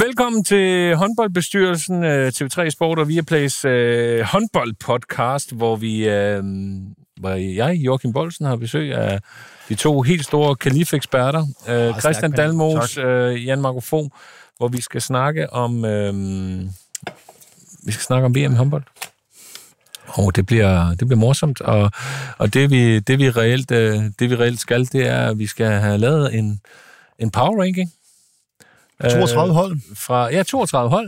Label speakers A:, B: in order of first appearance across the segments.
A: Velkommen til håndboldbestyrelsen, øh, TV3 Sport og Viaplays øh, håndboldpodcast, hvor vi, øh, hvor jeg, Joachim Bolsen, har besøg af de to helt store kalifeksperter, øh, Christian
B: stærkt,
A: Dalmos, øh, Jan Marco Fogh, hvor vi skal snakke om, øh, vi skal snakke om VM i håndbold. Og det bliver, det bliver morsomt, og, og det, vi, det, vi reelt, øh, det vi reelt skal, det er, at vi skal have lavet en, en power ranking. Øh,
C: Øh,
B: 32 hold.
A: fra ja, 32 hold.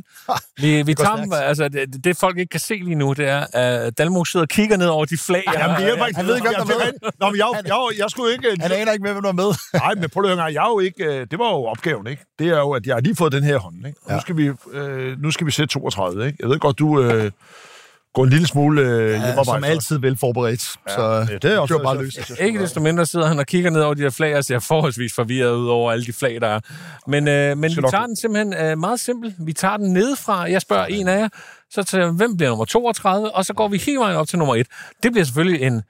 A: Vi, vi
B: går
A: tager dem,
B: stærkt.
A: altså, det, det, folk ikke kan se lige nu, det er, at Dalmo sidder og kigger ned over de flag. jeg
B: Jamen,
A: har.
B: det hjælper ikke.
C: Han
B: Jeg
C: ved ikke,
B: ved ikke,
C: hvem der er med.
B: Nå, men jeg, jeg, jeg, jeg skulle ikke...
C: Han aner ikke, hvem der er med.
B: Nej, men prøv lige at høre, en gang. jeg er jo ikke... øh, Det var jo opgaven, ikke? Det er jo, at jeg har lige fået den her hånd, ikke? Ja. Nu,
C: Ja.
B: skal vi, øh, nu skal vi sætte 32, ikke? Jeg ved godt, du øh, går en lille smule øh,
C: Ja,
B: hjemmearbejde.
C: som altid velforberedt. Ja, så
B: Ja, det er også...
C: kører bare løs.
A: Ikke desto mindre sidder han og kigger ned over de her flag og ser forholdsvis forvirret ud over alle de flag, der er. Men, øh, men vi
B: nok
A: tager
B: gå.
A: den simpelthen øh, meget simpel. Vi tager den nedefra. Jeg spørger en af jer, så tager jeg, hvem bliver nummer 32, og så går vi hele vejen op til nummer 1. Det bliver selvfølgelig en...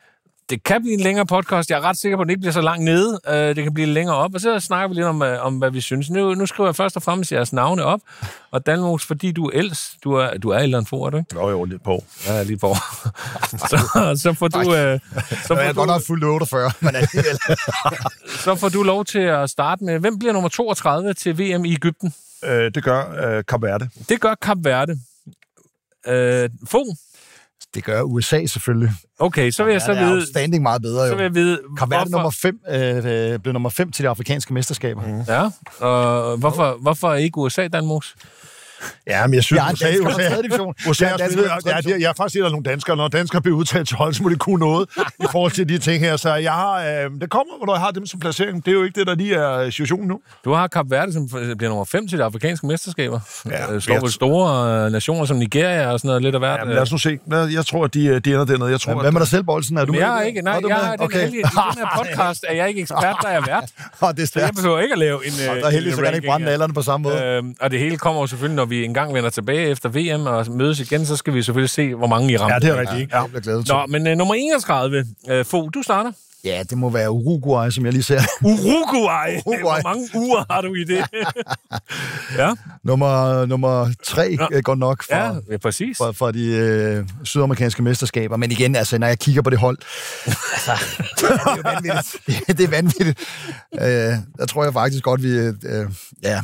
A: Det kan blive en længere podcast. Jeg er ret sikker på, at den ikke bliver så langt nede. Øh, det kan blive længere op. Og så snakker vi lidt om, øh, om hvad vi synes. Nu, nu skriver jeg først og fremmest jeres navne op. Og Dalmos, fordi du er ældst. Du er, du er ældre end for, er du ikke?
B: Nå, jo, lidt på.
A: Ja, lige på. så, så får du... Øh, så
C: Så jeg er godt nok fuld 48, men alligevel.
A: så får du lov til at starte med, hvem bliver nummer 32 til VM i Ægypten?
B: Øh, det gør øh, Kaberte.
A: Det gør Kap Verde. Øh, Fogh?
C: Det gør USA selvfølgelig.
A: Okay, så vil jeg så
C: det er
A: vide,
C: outstanding meget
A: så
C: bedre, jo.
A: vil jeg vide
C: Kamverde
A: hvorfor,
C: nummer 5, øh, øh, blev nummer 5 til de afrikanske mesterskaber. Mm.
A: ja, og hvorfor, hvorfor ikke USA, Danmarks?
B: Ja, men jeg synes,
C: Jeg er en dansker på tredje division.
B: USA,
C: Jeg er
B: jeg,
C: en dansker på
B: jeg,
C: tredje
B: jeg, jeg, jeg er faktisk et af nogle danskere. Når danskere bliver udtalt til hold, så må de kunne noget i forhold til de ting her. Så jeg har, øh, det kommer, når jeg har dem som placering. Det er jo ikke det, der lige er situationen nu.
A: Du har Kap Verde, som bliver nummer 5 til de afrikanske mesterskaber.
B: Ja,
A: Ja, Slår
B: jeg-
A: vel store øh, nationer som Nigeria og sådan noget lidt af hvert. øh.
B: Jamen, lad os nu se. Lad- Jeg tror, at de, øh, de ender dernede. Jeg tror,
C: Hvem hvem er der selv, Bolsen? Er du
A: Men jeg
C: med
A: er
C: i det?
A: ikke, nej,
C: Er du
A: jeg
C: med?
A: er den okay. heldige, i den her podcast er jeg ikke ekspert, der er vært.
C: Åh, det er
A: Så jeg
C: stærkt.
A: behøver ikke at lave en øh,
C: Der er heldigvis, så
A: en
C: kan han ikke brænde
A: ranking af-
C: alderen på samme måde.
A: Øhm, og det hele kommer jo selvfølgelig, når vi engang vender tilbage efter VM og mødes igen, så skal vi selvfølgelig se, hvor mange I rammer.
B: Ja, det er rigtigt. Ikke? Ja.
C: Jeg bliver glad til.
A: Nå, men øh, nummer 31, øh, Fogh, du starter.
C: Ja, det må være Uruguay, som jeg lige ser.
A: Uruguay!
C: Uruguay.
A: Hvor mange uger har du i det? ja,
C: Nummer, nummer 3
A: Nå.
C: godt nok for,
A: ja, ja, præcis.
C: fra, fra de øh, sydamerikanske mesterskaber. Men igen, altså, når jeg kigger på det hold, altså, det er jo vanvittigt. det er vanvittigt. Øh, der tror jeg faktisk godt, vi... Øh, ja,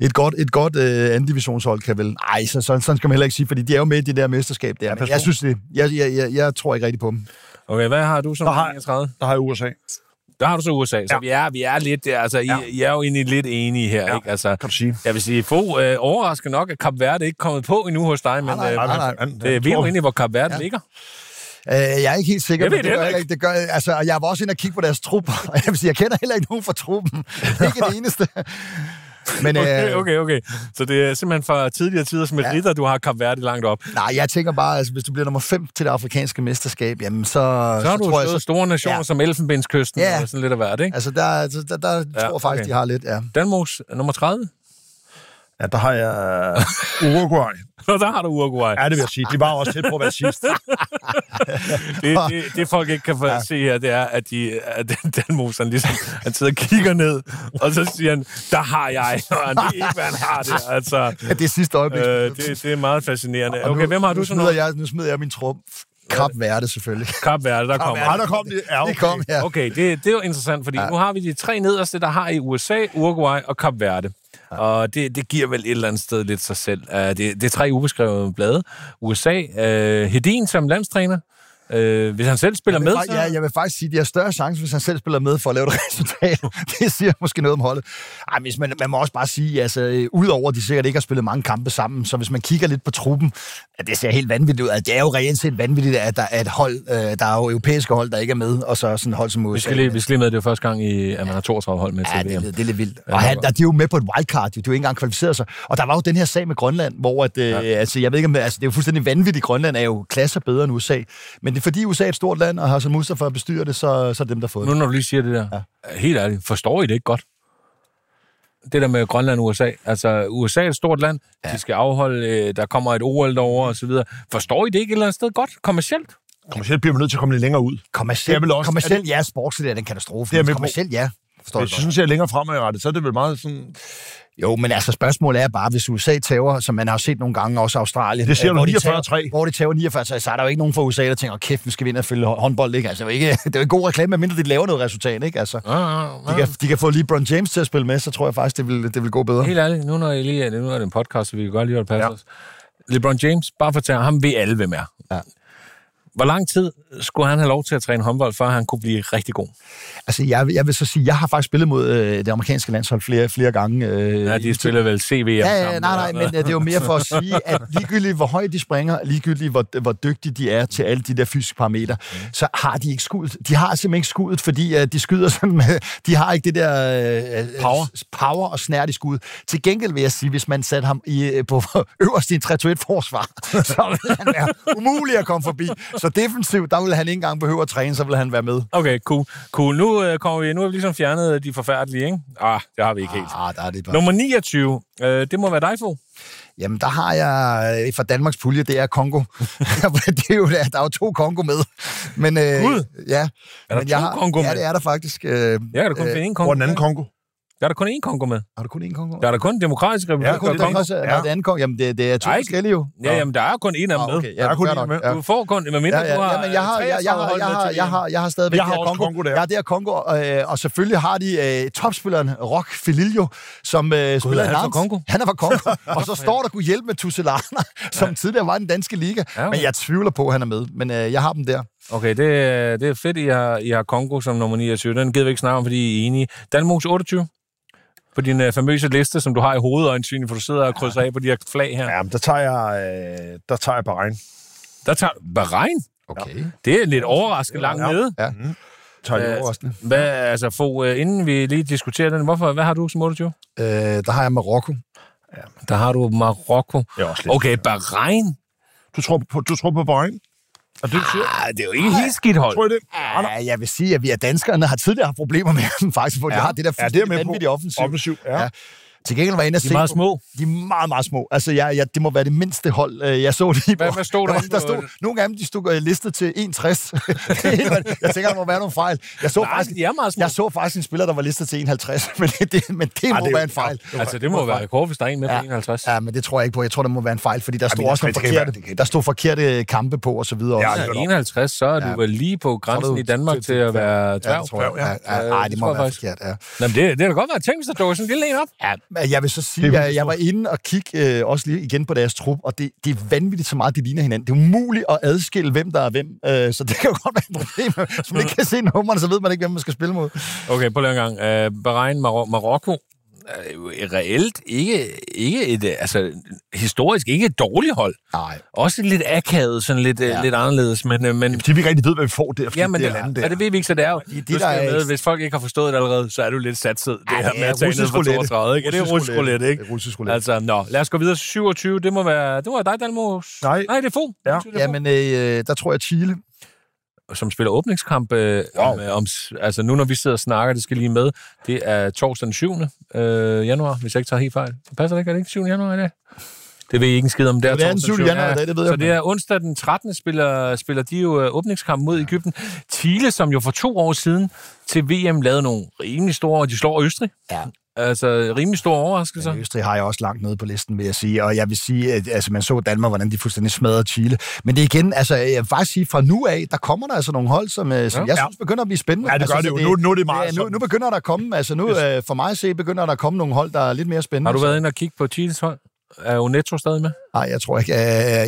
C: et godt, et godt øh, andendivisionshold kan vel... Ej, så, så, sådan skal man heller ikke sige, fordi de er jo med i det der mesterskab der. Men
B: pas
C: jeg
B: på.
C: synes det. Jeg, jeg, jeg, jeg tror ikke rigtigt på dem.
A: Okay, hvad har du som
B: Der har-
A: 31?
B: Der har jeg USA.
A: Der har du så USA, så
B: Ja.
A: vi er, vi er lidt, altså, I,
B: Ja.
A: I er jo egentlig lidt enige her,
B: Ja,
A: ikke? Altså,
B: Kan du sige?
A: jeg vil sige, Fogh, øh, overraskende nok, at Kap Verde ikke er kommet på endnu hos dig, men
C: nej,
A: øh,
C: nej, nej.
A: det er vi er jo egentlig, hvor Kap Verde
C: Ja.
A: ligger.
C: Øh, jeg er ikke helt sikker,
A: Jeg ved det
C: men det, gør
A: heller
C: heller ikke. det gør, altså, og jeg var også inde og kigge på deres trup, og jeg vil sige, jeg kender heller ikke nogen fra truppen. ikke det eneste. Men,
A: Okay,
C: øh,
A: okay, okay. Så det er simpelthen fra tidligere tider som et
C: Ja.
A: ritter, du har Kap Verde langt op.
C: Nej, jeg tænker bare, altså, hvis du bliver nummer 5 til det afrikanske mesterskab, jamen så... Så
A: Så har du
C: tror jeg,
A: stået
C: så,
A: store nationer ja.
C: Ja.
A: som Elfenbenskysten
C: Ja.
A: og sådan lidt af hvert, ikke?
C: Altså, der, der, der, der ja, tror jeg faktisk,
A: okay.
C: okay. de har lidt, ja.
A: Danmarks nummer 30.
B: Ja, der har jeg øh, Uruguay.
A: Nå, der har du Uruguay.
B: Ja, det vil jeg sige. De var også tæt på at være sidst.
A: Det, det, det folk ikke kan ja. se her, det er, at, de, at den, den mus, han ligesom, han sidder og kigger ned, og så siger han, der har jeg, og han, det er ikke, hvad han har det. Altså,
C: ja det er sidste øjeblik.
A: øh, det, det er meget fascinerende.
C: Og nu-
A: Okay, hvem har du
C: nu
A: så
C: smider
A: noget?
C: jeg, Nu smider jeg min trup. Kap Verde, selvfølgelig.
A: Kap Verde, der kommer.
B: Ja, der kom de. Ja, okay.
C: Det kom, ja.
A: Okay, det, det er jo interessant, fordi ja. nu har vi de tre nederste, der har i USA, Uruguay og Kap Verde. Ja. Og det, det giver vel et eller andet sted lidt sig selv. Uh, det, det er tre ubeskrevne blade. USA, uh, Hedin som landstræner. Uh, hvis han selv spiller
C: Jeg
A: med,
C: vil, fa-
A: så...
C: ja, jeg vil faktisk sige, at de har større chance, hvis han selv spiller med for at lave et resultat. det siger måske noget om holdet. Ej, hvis man, man må også bare sige, altså, øh, udover at de sikkert ikke har spillet mange kampe sammen, så hvis man kigger lidt på truppen, at det ser helt vanvittigt ud. Altså, det er jo reelt set vanvittigt, at der er et hold, øh, der er jo europæiske hold, der ikke er med, og så sådan et hold som USA.
A: Vi skal, lige, vi skal lige med, at det er første gang, i, at man har 32 hold med til
C: Ja, det er,
A: VM.
C: lidt- det er lidt vildt. Og han, der, de er jo med på et wildcard, jo. de er jo ikke engang kvalificeret sig. Og der var jo den her sag med Grønland, hvor at, ja. øh, altså, jeg ved ikke, om, altså, det er jo fuldstændig vanvittigt. Grønland er jo klasser bedre end USA. Men det er fordi USA er et stort land, og har som Mustafa bestyrer det, så, så er det dem, der har fået
A: Nu
C: det.
A: når du lige siger det der, ja. helt ærligt, forstår I det ikke godt? Det der med Grønland og USA. Altså, USA er et stort land, ja. de skal afholde, øh, der kommer et OL derovre og så videre. Forstår I det ikke et eller andet sted godt, kommercielt?
B: Kommercielt bliver man nødt til at komme lidt længere ud.
C: Kommercielt,
B: Jeg vil også-
C: kommercielt
B: er
C: ja, sportsligt er det en katastrofe.
B: Det er
C: Det
B: med
C: er
B: på.
C: kommercielt, ja. Forstår
B: Hvis
C: du
B: jeg
C: godt?
B: synes, jeg er længere fremadrettet, så er det vel meget sådan...
C: Jo, men altså spørgsmålet er bare, hvis USA tager, som man har set nogle gange, også Australien.
B: Det siger
C: øh,
B: du
C: hvor de
B: 49-3.
C: tager- Hvor de tager 49 så er der jo ikke nogen fra USA, der tænker, "Åh, kæft, vi skal vinde og følge hå- håndbold. Ikke? Altså, det er jo ikke, det er jo ikke god reklame, medmindre de laver noget resultat. Ikke? Altså,
A: Ja, ja,
C: de,
A: ja.
C: kan, de kan få LeBron James til at spille med, så tror jeg faktisk, det vil, det vil gå bedre.
A: Helt ærligt, nu når jeg lige er det, nu er det en podcast, så vi kan godt lige holde passet. Ja. LeBron James, bare fortæl ham, ved alle, hvem er.
C: Ja.
A: Hvor lang tid skulle han have lov til at træne håndbold, før han kunne blive rigtig god?
C: Altså, jeg, jeg vil så sige, jeg har faktisk spillet mod øh, det amerikanske landshold flere, flere gange. Øh,
A: Ja,
C: i-
A: de spiller vel CVM
C: Ja, ja,
A: sammen,
C: nej,
A: eller
C: nej,
A: sådan
C: men øh, det er jo mere for at sige, at ligegyldigt hvor højt de springer, ligegyldigt hvor, hvor dygtige de er til alle de der fysiske parametre, så har de ikke skuddet. De har simpelthen ikke skuddet, fordi øh, de skyder sådan med, de har ikke det der øh,
A: Power.
C: s- power og snært i skud. Til gengæld vil jeg sige, hvis man satte ham i, øh, på øverst i en 3-2-1-forsvar, så ville han være umulig at komme forbi. Så defensivt, der ville han ikke engang behøve at træne, så ville han være med.
A: Okay, cool. cool. Nu, øh, kommer vi, nu har vi ligesom fjernet de forfærdelige, ikke? Ah, det har vi ikke helt.
C: Ah, der er det bare.
A: Nummer 29, øh, det må være dig, Fogh.
C: Jamen, der har jeg øh, fra Danmarks pulje, det er Kongo. det er jo, der er jo to Kongo med. Men, øh,
A: Gud!
C: Ja.
A: Er der
C: men
A: to Congo
C: Ja,
A: med?
C: det er der faktisk. Øh,
A: Jeg kan da kun
C: Øh,
A: øh, finde én
B: Hvor
A: kongo.
B: er den anden kongo?
A: Der er der kun én kongo med.
C: har du kun én Kongo?
A: Der er der kun demokratisk republik.
B: Ja,
A: og
C: kun
B: det er
A: kongo.
C: Også, ja.
B: Ja.
C: Der er anden Kongo. Jamen, det, det er to
A: Der er ikke-
C: forskellige jo.
A: Ja, jamen, der er kun én af dem
C: Nå,
A: med.
C: okay.
B: Der
C: Ja,
B: er kun
C: fair
B: én
C: nok.
B: med.
C: Ja.
A: Du får kun, medmindre
C: Ja,
A: du
C: ja,
A: har
C: ja, men jeg har, jeg, jeg, har,
A: 33 hold
C: jeg, har,
A: med til
C: jeg,
A: VM.
C: har, jeg har stadigvæk
B: Jeg har
C: det her
B: også
C: Kongo.
B: Congo der.
C: Ja, det er Kongo, og, øh, og selvfølgelig har de øh, topspilleren Rock Filillo, som øh, God, spiller
A: er
C: i
A: han fra
C: Nantes.
A: Congo?
C: Han er fra Kongo, og så står der kunne hjælpe med Tusselana, som tidligere var i den danske liga.
A: Ja, okay.
C: Men jeg tvivler på, at han er med, men øh, jeg har dem der.
A: Okay, det, er- det er fedt, I har, I har Kongo som nummer 29. Den gider vi ikke snakke om, fordi I er enige. Danmarks 28 på din øh, famøse liste, som du har i hovedet, øjensynligt, for du sidder og krydser af på de her flag her.
B: Ja, men der tager jeg, øh, der tager jeg Bahrain.
A: Der tager Bahrein.
C: Okay.
A: Det er lidt overraskende langt
B: Ja.
A: nede.
C: Ja.
B: Tager jeg
A: Øh,
B: overraskende.
A: Hvad, altså, få, øh, inden vi lige diskuterer den, hvorfor, hvad har du som 28?
C: Øh, der har jeg Marokko.
A: Der har du Marokko.
B: Det er også lidt.
A: Okay, Bahrein.
B: Du tror på, du tror på Bahrain? Er det, du siger?
A: Ah, det er jo ikke et helt skidt hold.
B: Tror I det? Ah, nej.
C: Ja, jeg vil sige, at vi er danskerne har tidligere haft problemer med dem faktisk, for ja, de har det der
B: ja, det er jeg med på.
C: vanvittige offensiv.
B: Offensiv, ja.
C: Ja. Til gengæld var jeg inde og
A: De er meget små.
C: De er meget, meget små. Altså, jeg, jeg, det må være det mindste hold, øh, jeg så lige.
A: Hvad- hvad stod der
C: der,
A: inde
C: der
A: på-
C: stod, Nogle af dem, de stod øh, listet til 1,60. Det er helt vildt. jeg tænker, der må være nogle fejl. Jeg så,
A: Nej,
C: faktisk,
A: de er meget små.
C: jeg så faktisk en spiller, der var listet til 1,50, men det, det, men det må
B: det er
C: det være en
B: jo-
C: fejl.
A: Altså, det må være rekord, hvis der er en med på 51.
C: Ja, men det tror jeg ikke på. Jeg tror, der må være en fejl, fordi der stod
B: men
C: også nogle
B: det kan være-
C: forkerte,
B: det kan-
C: der stod forkerte kampe på og så videre.
B: Ja,
C: også.
B: det
A: Ja, 51, så er du vel lige på grænsen i Danmark til at være
C: Ja,
A: dværg.
C: det tror jeg.
B: Ja,
C: Ja, ja, ja, ej, det
A: tror
C: må
A: jeg
C: være
A: faktisk.
C: forkert, ja.
A: Nå, men det, det kan da godt være tænkt, hvis der dukker sådan en lille en op.
C: Ja, men jeg vil så sige,
B: Det
C: at
B: er
C: jeg, jeg var inde og kigge øh, også lige igen på deres trup, og det, det er vanvittigt så meget, de ligner hinanden. Det er umuligt at adskille, hvem der er hvem, øh, så det kan jo godt være et problem. Hvis man ikke kan se nummerne, så ved man ikke, hvem man skal spille mod.
A: Okay, på en gang. Øh, Bahrain, Marok- Marokko, er jo reelt ikke, ikke et, øh, altså historisk ikke et dårligt hold.
C: Nej.
A: Også lidt akavet, sådan lidt, ja.
C: Ja.
A: lidt anderledes, men, øh, men
B: Fordi vi ikke rigtig ved, hvad vi får der, fordi
A: Ja, men
B: det
A: det,
B: er landet
A: det,
B: der.
A: ja, det ved vi ikke, så det er jo. De,
C: der er
A: med,
C: ikke-
A: hvis folk ikke har forstået det allerede, så er du lidt satset. Det
C: Ej,
A: her med
C: ja,
A: at tage ned
C: russisk
A: for
C: roulette.
A: 32, ikke? Ja, det er russisk roulette, ikke?
C: Det er russisk roulette.
A: Altså, nå. Lad os gå videre. 27, det må være, det må være dig, Dalmos.
B: Nej.
A: Nej, det er Fogh.
B: Ja.
A: Det er Fogh,
C: Jamen, øh, der tror jeg Chile.
A: Som spiller åbningskamp. Øh, om, øh, om, s- altså, nu når vi sidder og snakker, det skal lige med. Det er torsdag den 7. Øh, januar, hvis jeg ikke tager helt fejl. Passer det ikke? Er det ikke 7. januar i dag? Det ved I ikke en skid om. Det er,
C: det er den
A: torsdag
C: 7. januar i dag, det ved
A: Så
C: jeg.
A: det er onsdag den 13. spiller, spiller de jo øh, åbningskamp mod Ægypten. Chile, som jo for to år siden til VM lavede nogle rimelig store, og de slår Østrig.
C: Ja.
A: Altså rimelig store overraskelser.
C: Men Østrig har jeg også langt nede på listen, vil jeg sige. Og jeg vil sige, at altså, man så Danmark, hvordan de fuldstændig smadrede Chile. Men det er igen, altså, jeg vil faktisk sige, fra nu af, der kommer der altså nogle hold, som, øh, som
A: Ja.
C: ja. jeg synes begynder at blive spændende.
B: Ja, det gør
C: altså,
B: det
C: så
B: jo. Nu- nu er det meget
C: nu,
B: sådan.
C: nu begynder der at komme, altså nu, øh, for mig at se, begynder der at komme nogle hold, der er lidt mere spændende.
A: Har du været inde og kigge på Chiles hold? Er Onetto stadig med?
C: Nej, jeg tror ikke. Øh,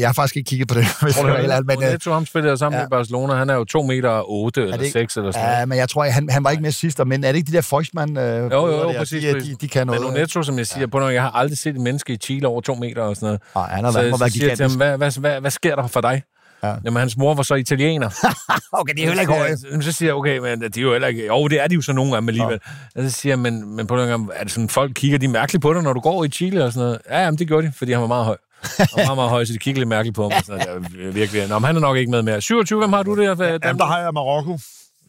C: jeg har faktisk ikke kigget på det, hvis jeg er helt ærlig, men, øh,
A: Onetto, ham spiller sammen
C: ja.
A: med Barcelona. Han er jo 2 meter 8 eller
C: ikke-
A: 6 eller sådan noget.
C: Ja, men jeg tror, han, han var ikke med sidst, men er det ikke de der Feuchtmann? Øh, jo,
A: jo, jo, præcis,
C: De,
A: præcis.
C: de, de kan
A: Men
C: noget. øh.
A: Onetto, som jeg siger, på noget, jeg har aldrig set et menneske i Chile over to meter og sådan noget.
C: Nej, Ah, han har
A: så
C: været, må
A: jeg
C: være
A: siger jeg til ham,
C: gigantisk.
A: hvad, hvad, hvad, hvad sker der for dig? Ja.
C: Ja.
A: Jamen, hans mor var så italiener.
C: Okay, det er heller ikke høje.
A: Så siger jeg- Så siger jeg, okay, men de er jo heller ikke... Jo, det er de jo så nogle af dem alligevel. Ja. Så siger jeg, men, men på nogle gange, er det sådan, folk kigger de mærkeligt på dig, når du går i Chile og sådan noget? Ja, jamen, det gjorde de, fordi han var meget høj. Han var meget, meget høj, så de kiggede lidt mærkeligt på ham. Og sådan noget. Det er virkelig. Nå, men han er nok ikke med mere. 27, hvem har du der?
B: Jamen, der har jeg Marokko.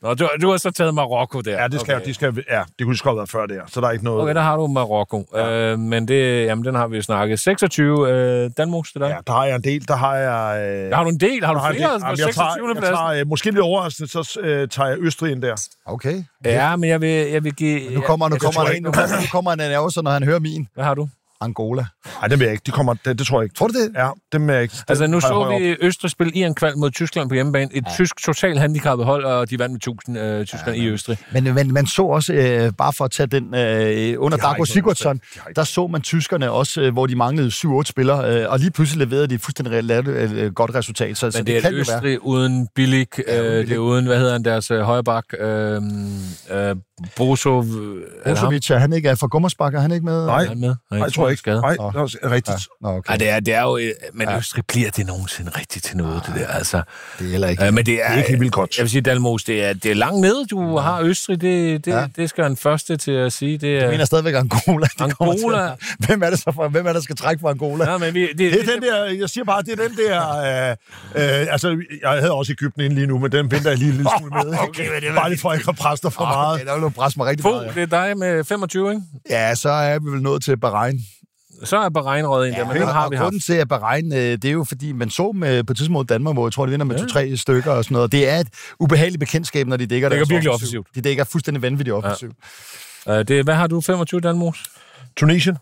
A: Nå, du, du har så taget Marokko der.
B: Ja, det skal, okay. de skal, ja, det kunne lige så godt have været før der, så der er ikke noget...
A: Okay, der har du Marokko. Ja. Øh, men det, jamen, den har vi jo snakket. 26, øh, Danmark til dig. Ja.
B: Ja, der har jeg en del, der har jeg... Øh,
A: Har du en del? Har du
B: der har jeg en
A: flere?
B: del.
A: Altså,
B: Jamen,
A: På
B: jeg
A: 26.
B: tager, jeg
A: pladsen?
B: tager, øh, måske lidt overraskende, så øh, tager jeg Østrig ind der.
C: Okay.
A: Ja, men jeg vil, jeg vil give...
C: Nu kommer, nu
A: jeg-
C: kommer,
A: jeg tror
C: nu, kommer, nu kommer en nervøse, når han hører min.
A: Hvad har du?
C: Angola.
B: Nej, det vil jeg ikke. De kommer, det, det tror jeg ikke.
C: Tror du det?
B: Ja, det vil jeg ikke.
A: Altså, nu
B: Den har jeg
A: så
B: højere
A: vi Østrig spille i en kval mod Tyskland på hjemmebane. Et ja. tysk totalt handicappet hold, og de vandt med 1000 øh, Tyskland ja, i Østrig.
C: Men man, man så også, øh, bare for at tage den øh, under
B: De har
C: Dago
B: ikke nogen
C: Sigurdsson,
B: De har ikke-
C: der så man tyskerne også, øh, hvor de manglede 7-8 spillere, øh, og lige pludselig leverede de et fuldstændig reelt, øh, godt resultat. Så, så
A: Men
C: det,
A: det, er øh,
C: kan
A: et
C: jo være.
A: Østrig uden Billig, øh,
C: Bilic.
A: det er uden, hvad hedder han, deres øh, højre bak, øh, øh, Brosov, øh, er det ham?
C: Brozovic, er han ikke er fra Gummersbak, er han ikke med?
B: Nej,
A: Er han med?
B: Nej, jeg tror
A: han er
B: ikke.
A: skadet.
B: Nej,
C: Nå.
B: det er også rigtigt.
C: Ja, nå, okay.
A: Ej, det er, det er jo, øh, men
C: Ja.
A: ja. Østrig bliver det nogensinde rigtigt til noget, det der, altså.
C: Det er heller ikke.
A: Øh, men det er,
B: Det er ikke helt vildt godt.
A: Jeg vil sige, Dalmos, det er, det er langt nede, du ja. har Østrig, det, det,
C: Ja.
A: ja. det skal han første til at sige. Det
C: Jeg
A: er,
C: mener stadigvæk Angola. Det kommer til-
A: Angola.
C: Hvem er det så for, hvem er der skal trække for Angola?
A: Ja, men vi, det, det,
B: Det er den der, jeg siger bare, det er den der, øh, øh, altså, jeg havde også Ægypten ind lige nu, men den venter jeg lige en lille smule med.
C: Okay, men det var-
B: bare lige for at jeg ikke har præster for
A: Ah,
C: Meget.
B: meget.
C: Okay, der vil du presse mig rigtig
A: Bo,
C: meget.
A: det er dig med 25, ikke?
C: Ja. ja, så er vi vel nået til Bahrain.
A: Så er Bahrein røget ind ja, der, men den
C: og,
A: har vi
C: og
A: haft.
C: grunden til, at Bahrain, øh, det er jo fordi, man så dem øh, på et tidspunkt i Danmark, hvor jeg tror, de vinder med to-tre stykker og sådan noget. Det er et ubehageligt bekendtskab, når de dækker
A: Dækker
C: deres
A: virkelig
C: offensiv.
A: offensivt.
C: De dækker fuldstændig vanvittigt offensivt.
A: Øh, det, hvad har du, 25, Danmos?
B: Tunesien.